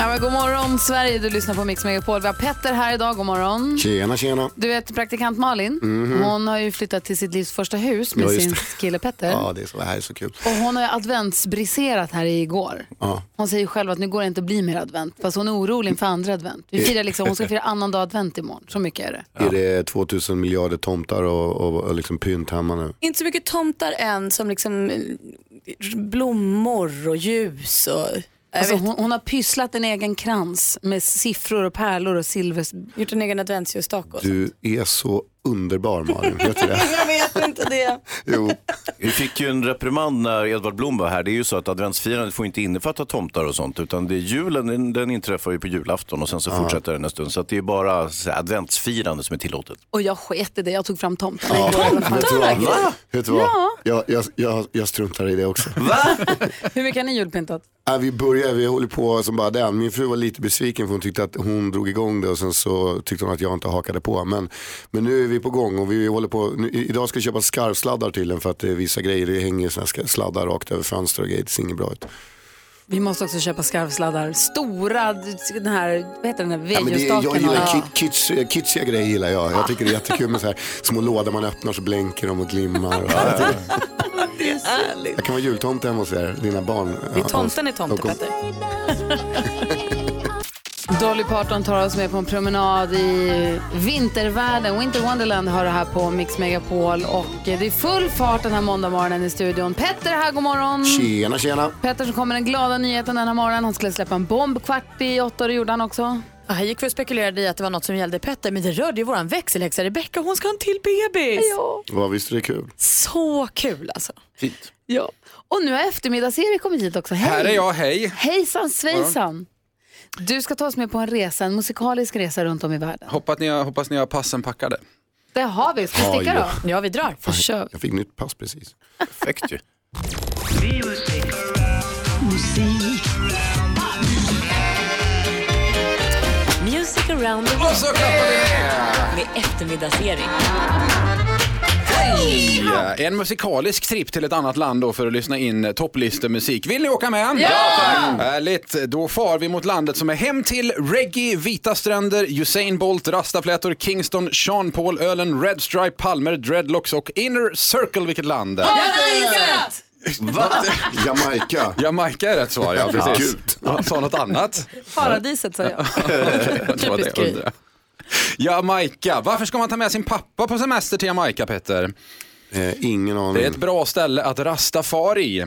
Ja, men god morgon Sverige, du lyssnar på Mix Megapol. Vi har Petter här idag, god morgon.
Tjena tjena.
Du vet praktikant Malin,
Mhm.
hon har ju flyttat till sitt livs första hus med
Ja, just
sin
det.
kille Petter.
Ja det är så, det här är så kul.
Och hon har ju adventsbriserat här i igår.
Ja.
Hon säger själv att nu går det inte att bli mer advent, fast hon är orolig inför andra advent. Vi firar liksom, hon ska fira annandag advent imorgon, så mycket är det.
Är det 2000 miljarder tomtar och, och, och liksom pynt hemma nu?
Inte så mycket tomtar än som liksom eh, blommor och ljus och
Alltså, hon, hon har pysslat en egen krans med siffror och pärlor och silver.
Gjort en egen adventsljusstake
Du är så underbar Malin, vet du det?
Jag vet inte det.
Jo,
Vi fick ju en reprimand när Edvard Blom var här. Det är ju så att adventsfirandet får inte innefatta tomtar och sånt. Utan det är julen, den, den inträffar ju på julafton och sen så
Ja.
fortsätter den en stund. Så att det är bara så här, adventsfirande som är tillåtet.
Och jag sket i det, jag tog fram tomten.
Ja, vet du vad?
Va?
Vet du vad?
Ja.
Jag, jag, jag, jag struntar i det också.
Hur mycket har ni julpyntat?
Ja, vi började, vi håller på som bara den. Min fru var lite besviken för hon tyckte att hon drog igång det och sen så tyckte hon att jag inte hakade på. Men, men nu är vi på gång och vi håller på. Nu, i- idag ska jag köpa skarvsladdar till den för att det är vissa grejer. Det hänger såna här sladdar rakt över fönster och grejer. Det ser inget bra ut.
Vi måste också köpa skarvsladdar. Stora, den här, vad heter den här,
Ja, men det, jag
vedljusstaken.
gillar
och-
ki- kitsch, kitschiga grejer gillar jag. Jag tycker det är jättekul med så här små lådor man öppnar så blänker de och glimmar. Och allt.
Det är härligt.
Jag kan vara jultomte hemma hos er, dina barn.
Det är tomten är tomte,
De kom-
Petter.
Dolly Parton tar oss med på en promenad i vintervärlden. Winter Wonderland har det här på Mix Megapol. Och eh, det är full fart den här måndagmorgonen i studion. Petter är här, god morgon.
Tjena, tjena.
Petter som kommer med den glada nyheten den här morgonen. Han skulle släppa en bomb kvart i åtta och det gjorde han också.
Ja, Här gick vi och spekulerade i att det var något som gällde Petter, men det rörde ju våran växelhäxa Rebecca. Hon ska ha en till bebis.
Vad visst är det kul.
Så kul alltså.
Fint.
Ja. Och nu har eftermiddags-Erik kommit hit också. Hej!
Här är jag, hej.
Hejsan svejsan! Du ska ta oss med på en resa, en musikalisk resa runt om i världen.
Hoppas ni har, hoppas ni har passen packade.
Det har vi, ska vi
Ja,
sticka
ja.
då? Ja, vi drar. Försök.
Jag fick nytt pass precis.
Perfekt ju.
Music around the world. Och så klappar vi med! Med eftermiddagsserien.
Ja, En musikalisk tripp till ett annat land då för att lyssna in topplistemusik. Vill ni åka med?
Ja!
Mm. Härligt, då far vi mot landet som är hem till reggae, vita stränder, Usain Bolt, rastaflätor, Kingston, Sean Paul, ölen, Red Stripe, palmer, dreadlocks och Inner Circle. Vilket land? Va?
Jamaica.
Jamaica är rätt svar, ja precis. Han sa något annat.
Paradiset sa jag.
Jag tror att det
Typiskt grej.
undrar. Jamaica. Varför ska man ta med sin pappa på semester till Jamaica, Petter?
ingen aning.
Det är ett bra ställe att rasta far i.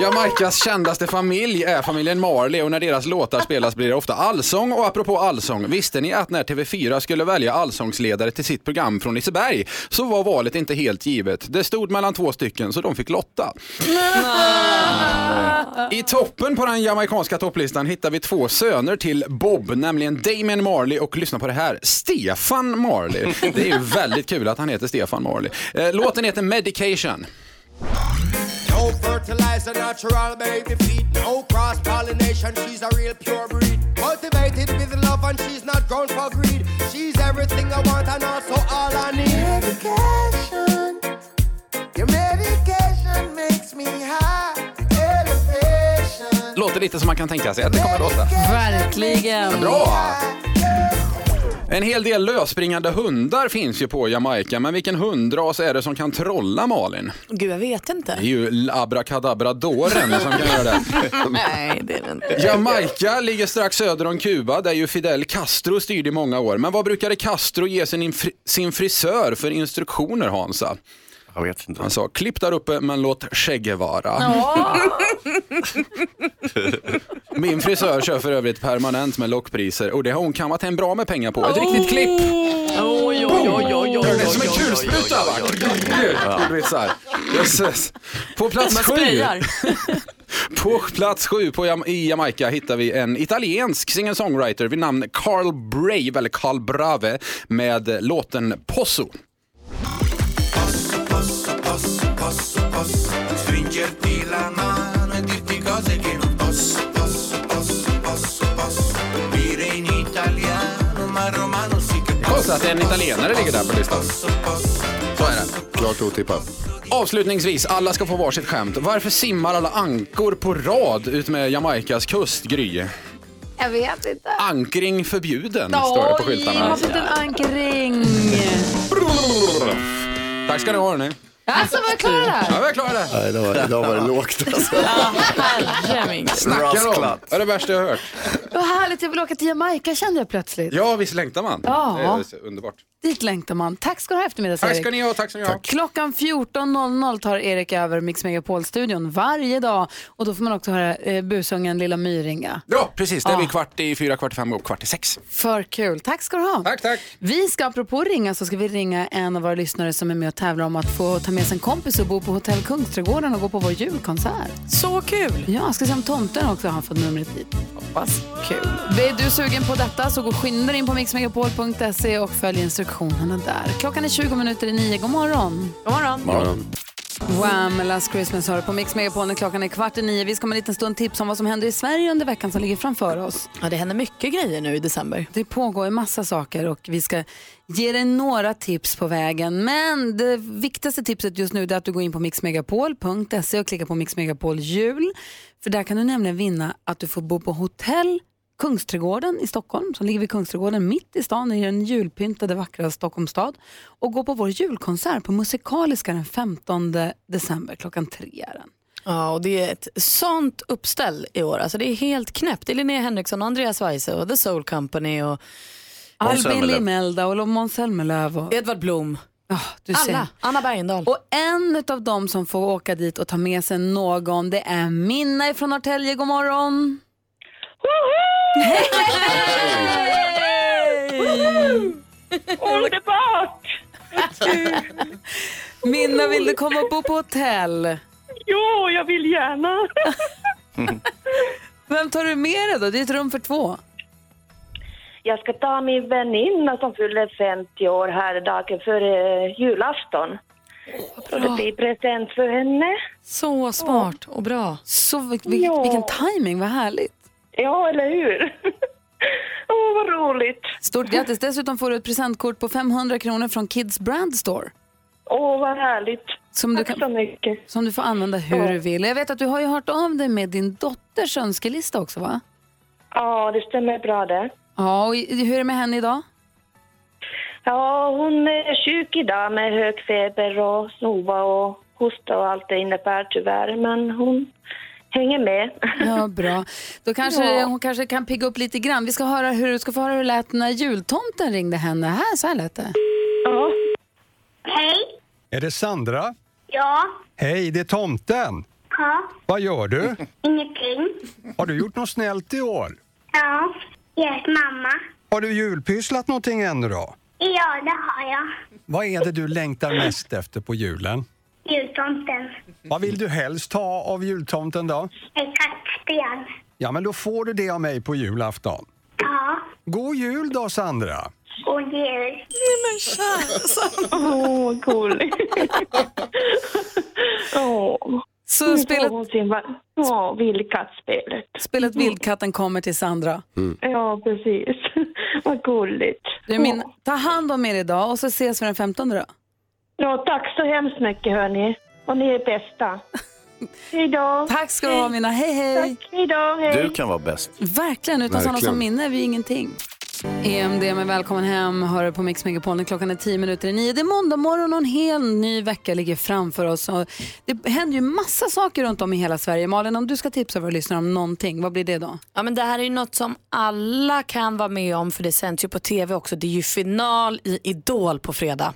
Jamaicas kändaste familj är familjen Marley och när deras låtar spelas blir det ofta allsång. Och apropå allsång, visste ni att när TV4 skulle välja allsångsledare till sitt program från Liseberg så var valet inte helt givet. Det stod mellan två stycken så de fick lotta. I toppen på den jamaicanska topplistan hittar vi två söner till Bob, nämligen Damien Marley och lyssna på det här, Stefan Marley. Det är ju väldigt kul att han heter Stefan Marley. Eh, Låten heter Medication.
No fertilizer, natural baby feed. No cross pollination, she's a real pure breed. Cultivated with love, and she's not grown for greed. She's everything I want, and also all I need. Medication, your medication makes me high. Elevation.
Låter lite som man kan tänka sig att det kommer att låta.
Verkligen.
Bra! En hel del lösspringande hundar finns ju på Jamaica, men vilken hundras är det som kan trolla Malin?
Gud, jag vet inte.
Det är ju abrakadabradoren som kan göra det.
Nej, det är det inte.
Jamaica ligger strax söder om Kuba där ju Fidel Castro styrde i många år. Men vad brukade Castro ge sin, infri- sin frisör för instruktioner Hansa?
Jag vet inte.
Han sa klipp där uppe men låt skägget vara. Min frisör kör för övrigt permanent med lockpriser och det har hon kammat hem bra med pengar på. Ett
Oh.
riktigt klipp.
Oj, oj, oj, oj, oj.
Det är som en kulspruta va? Ja. Du vet så här. Jösses. På plats
Man
sju.
sprayar.
På plats sju på Jam- i Jamaica hittar vi en italiensk singer-songwriter vid namn Carl Brave, eller Carl Brave, med låten Posso.
Posso, posso, posso, posso stringerti la mano e dirti cose che non posso, posso, posso, posso, posso dire in italiano, ma romano sì che
Konstigt att en italienare ligger där på listan. Så är det.
Klart otippat.
Avslutningsvis, alla ska få varsitt skämt. Varför simmar alla ankor på rad ut med Jamaicas kust, Gry?
Jag vet inte.
Ankring förbjuden, står det på
Oj, man
skyltarna.
har fått en ankring.
Tack ska ni ha, hörni.
Alltså var jag klar där?
Ja, vi är klara där.
Nej, idag, var, idag var det lågt alltså.
Snackar om. Det är det värsta jag har hört.
Vad härligt, jag vill åka till Jamaica kände jag plötsligt.
Ja, visst längtar man?
Ja.
Det är underbart.
Dit längtar man. Tack ska du ha eftermiddags
Tack
Erik.
ska ni ha, tack ska ni ha.
Klockan 14.00 tar Erik över Mix Megapol-studion varje dag och då får man också höra eh, busungen Lilla Myringa.
Ja, precis. Det är
Ja.
vi kvart i fyra, kvart i fem och kvart i sex.
För kul. Tack ska du ha.
Tack, tack.
Vi ska apropå ringa så ska vi ringa en av våra lyssnare som är med och tävlar om att få ta med sig en kompis och bo på Hotell Kungsträdgården och gå på vår julkonsert.
Så kul!
Ja, ska se om tomten också har fått numret dit. Hoppas. Kul. Är du sugen på detta så gå skynda dig in på mixmegapol.se och följ instruktionerna där. Klockan är 20 minuter i nio. God morgon.
God morgon.
Wham! Last Christmas hör du på Mix Megapol när klockan är kvart i nio. Vi ska om en liten stund tipsa om vad som händer i Sverige under veckan som ligger framför oss.
Ja, det händer mycket grejer nu i december.
Det pågår en massa saker och vi ska ge dig några tips på vägen. Men det viktigaste tipset just nu är att du går in på mixmegapol.se och klickar på Mix Megapol jul. För där kan du nämligen vinna att du får bo på hotell Kungsträdgården i Stockholm, som ligger vid Kungsträdgården mitt i stan i den julpyntade vackra Stockholms stad och gå på vår julkonsert på Musikaliska den 15 december klockan tre. är den.
Ja, och det är ett sånt uppställ i år. Alltså, det är helt knäppt. Det är Linnea Henriksson, Andreas Weise och The Soul Company och
Albin Zelmerlöw. Limelda och Måns Zelmerlöw. Och...
Edvard Blom.
du
Alla.
ser.
Anna Bergendahl.
Och en av dem som får åka dit och ta med sig någon, det är Minna från Norrtälje. God morgon!
Underbart!
Minna, vill du komma och bo på hotell?
Jo, jag vill gärna.
Vem tar du med dig då? Det är ett rum för två.
Jag ska ta min väninna som fyller 50 år här dagen före eh, julafton. Så det blir present för henne.
Så smart och bra.
Så vil- vil-
Ja.
Vilken timing, vad härligt.
Ja, eller hur? Åh, vad roligt.
Stort grattis. Dessutom får du ett presentkort på 500 kronor från Kids Brand Store.
Åh, vad härligt.
Som du kan,
så mycket.
Som du får använda hur
Ja.
du vill. Jag vet att du har ju hört av dig med din dotters önskelista också va?
Ja, det stämmer bra det.
Ja, och i- hur är det med henne idag?
Ja, hon är sjuk idag med hög feber och snova och hosta och allt det innebär tyvärr. Men hon hänger med.
Ja, bra. Då kanske
Ja.
hon kanske kan pigga upp lite grann. Vi ska, höra hur, du ska få höra hur det lät när jultomten ringde henne. Här, så här lät det.
Hej.
Är det Sandra?
Ja.
Hej, det är tomten.
Ja.
Vad gör du?
Ingenting.
Har du gjort något snällt i år?
Ja. Jag är mamma.
Har du julpysslat någonting ännu då?
Ja, det har jag.
Vad är det du längtar mest efter på julen?
Jultomten.
Vad vill du helst ha av jultomten då?
En kattsten.
Ja, men då får du det av mig på julafton.
Ja.
God jul då, Sandra!
Och jul.
Nej men kära Åh, vad gulligt. Åh.
Så spelet-
Ja, vildkattspelet.
Spelet Vildkatten kommer till Sandra.
Ja, precis. Vad gulligt.
Du, min, ta hand om er idag och så ses vi den 15 då.
Ja, tack så hemskt mycket hörni. Och ni är bästa. Hej då.
Tack ska du ha Mina. Hej hej.
Tack, hej då. Hej.
Du kan vara bäst.
Verkligen, utan sådana
Verkligen.
som minne är vi ingenting. EMD med Välkommen hem hör på Mix Megapol när klockan är 10 minuter i nio. Det är måndag morgon och en hel ny vecka ligger framför oss. Och det händer ju massa saker runt om i hela Sverige. Malin, om du ska tipsa våra lyssnare om någonting, vad blir det då?
Ja, men det här är ju något som alla kan vara med om för det sänds ju på tv också. Det är ju final i Idol på fredag.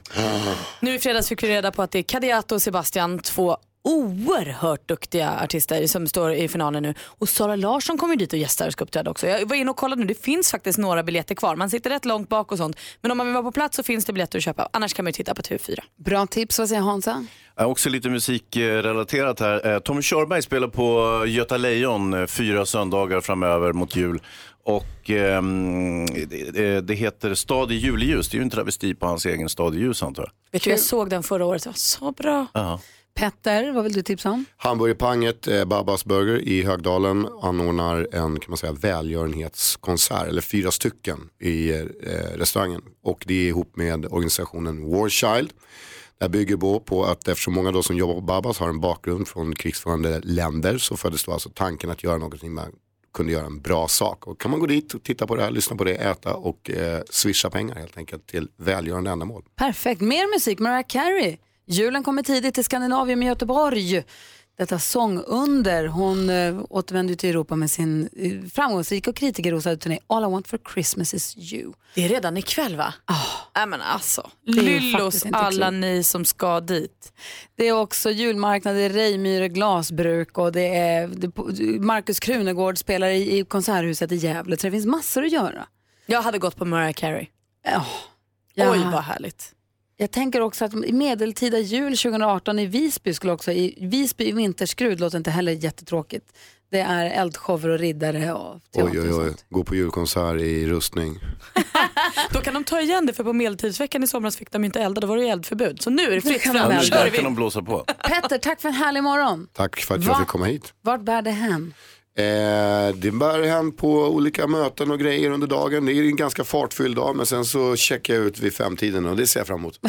Nu i fredags fick vi reda på att det är Kadiatou och Sebastian, två oerhört duktiga artister som står i finalen nu. Och Sara Larsson kommer ju dit och gästar och ska uppträda också. Jag var inne och kollade nu, det finns faktiskt några biljetter kvar. Man sitter rätt långt bak och sånt. Men om man vill vara på plats så finns det biljetter att köpa. Annars kan man ju titta på TV4.
Bra tips, vad säger Hansa?
Ja, Äh, Också lite musikrelaterat här. Eh, Tommy Körberg spelar på Göta Lejon eh, fyra söndagar framöver mot jul. Och ehm, det- eh, det heter Stad i juleljus. Det är ju en travesti på hans egen Stad i ljus antar jag.
Vet du, jag såg den förra året, det var så bra.
Ja.
Petter, vad vill du tipsa om?
Hamburgerpanget eh, Babas Burger i Högdalen anordnar en kan man säga, välgörenhetskonsert, eller fyra stycken i eh, restaurangen. Och det är ihop med organisationen War Child. Det här bygger på- på att eftersom många då som jobbar på Babas har en bakgrund från krigsförande länder så föddes då alltså tanken att göra någonting man kunde göra en bra sak. Och kan man gå dit och titta på det här, lyssna på det, äta och eh, swisha pengar helt enkelt till välgörande ändamål.
Perfekt, mer musik, Mariah Carey. Julen kommer tidigt till Skandinavien med Göteborg. Detta sångunder. Hon eh, återvänder ju till Europa med sin eh, framgångsrika och kritikerrosade turné All I want for Christmas is you.
Det är redan ikväll va? Nej men alltså,
Det är
lyllos
faktiskt inte
alla
klokt.
ni som ska dit.
Det är också julmarknad, det är Rejmyre glasbruk och det är det, Markus Krunegård spelar i, i Konserthuset i Gävle. Så det finns massor att göra.
Jag hade gått på Mariah Carey.
Ja.
Oj vad härligt.
Jag tänker också att i medeltida jul 2018 i Visby skulle också, i Visby i vinterskrud låter inte heller jättetråkigt. Det är eldshower och riddare och
Oj, oj, oj. Gå på julkonsert i rustning.
Då kan de ta igen det för på medeltidsveckan i somras fick de ju inte elda, då var det ju eldförbud. Så nu är det fritt
Ja,
fram.
men
Kör
där
vi.
kan de blåsa på.
Petter, tack för en härlig morgon.
Tack för att
Va?
jag fick komma hit.
Vart bär det hän?
Eh, det bär hän på olika möten och grejer under dagen. Det är en ganska fartfylld dag men sen så checkar jag ut vid femtiden och det ser jag fram emot.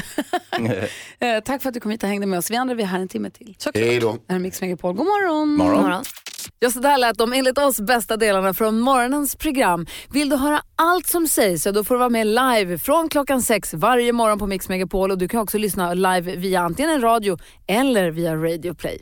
Eh, tack för att du kom hit och hängde med oss. Vi andra vi är här en timme till.
Hej då.
Det här är Mix Megapol. God morgon.
Morgon.
Ja, så där lät de enligt oss bästa delarna från morgonens program. Vill du höra allt som sägs så då får du vara med live från klockan sex varje morgon på Mix Megapol och du kan också lyssna live via antingen en radio eller via Radio Play.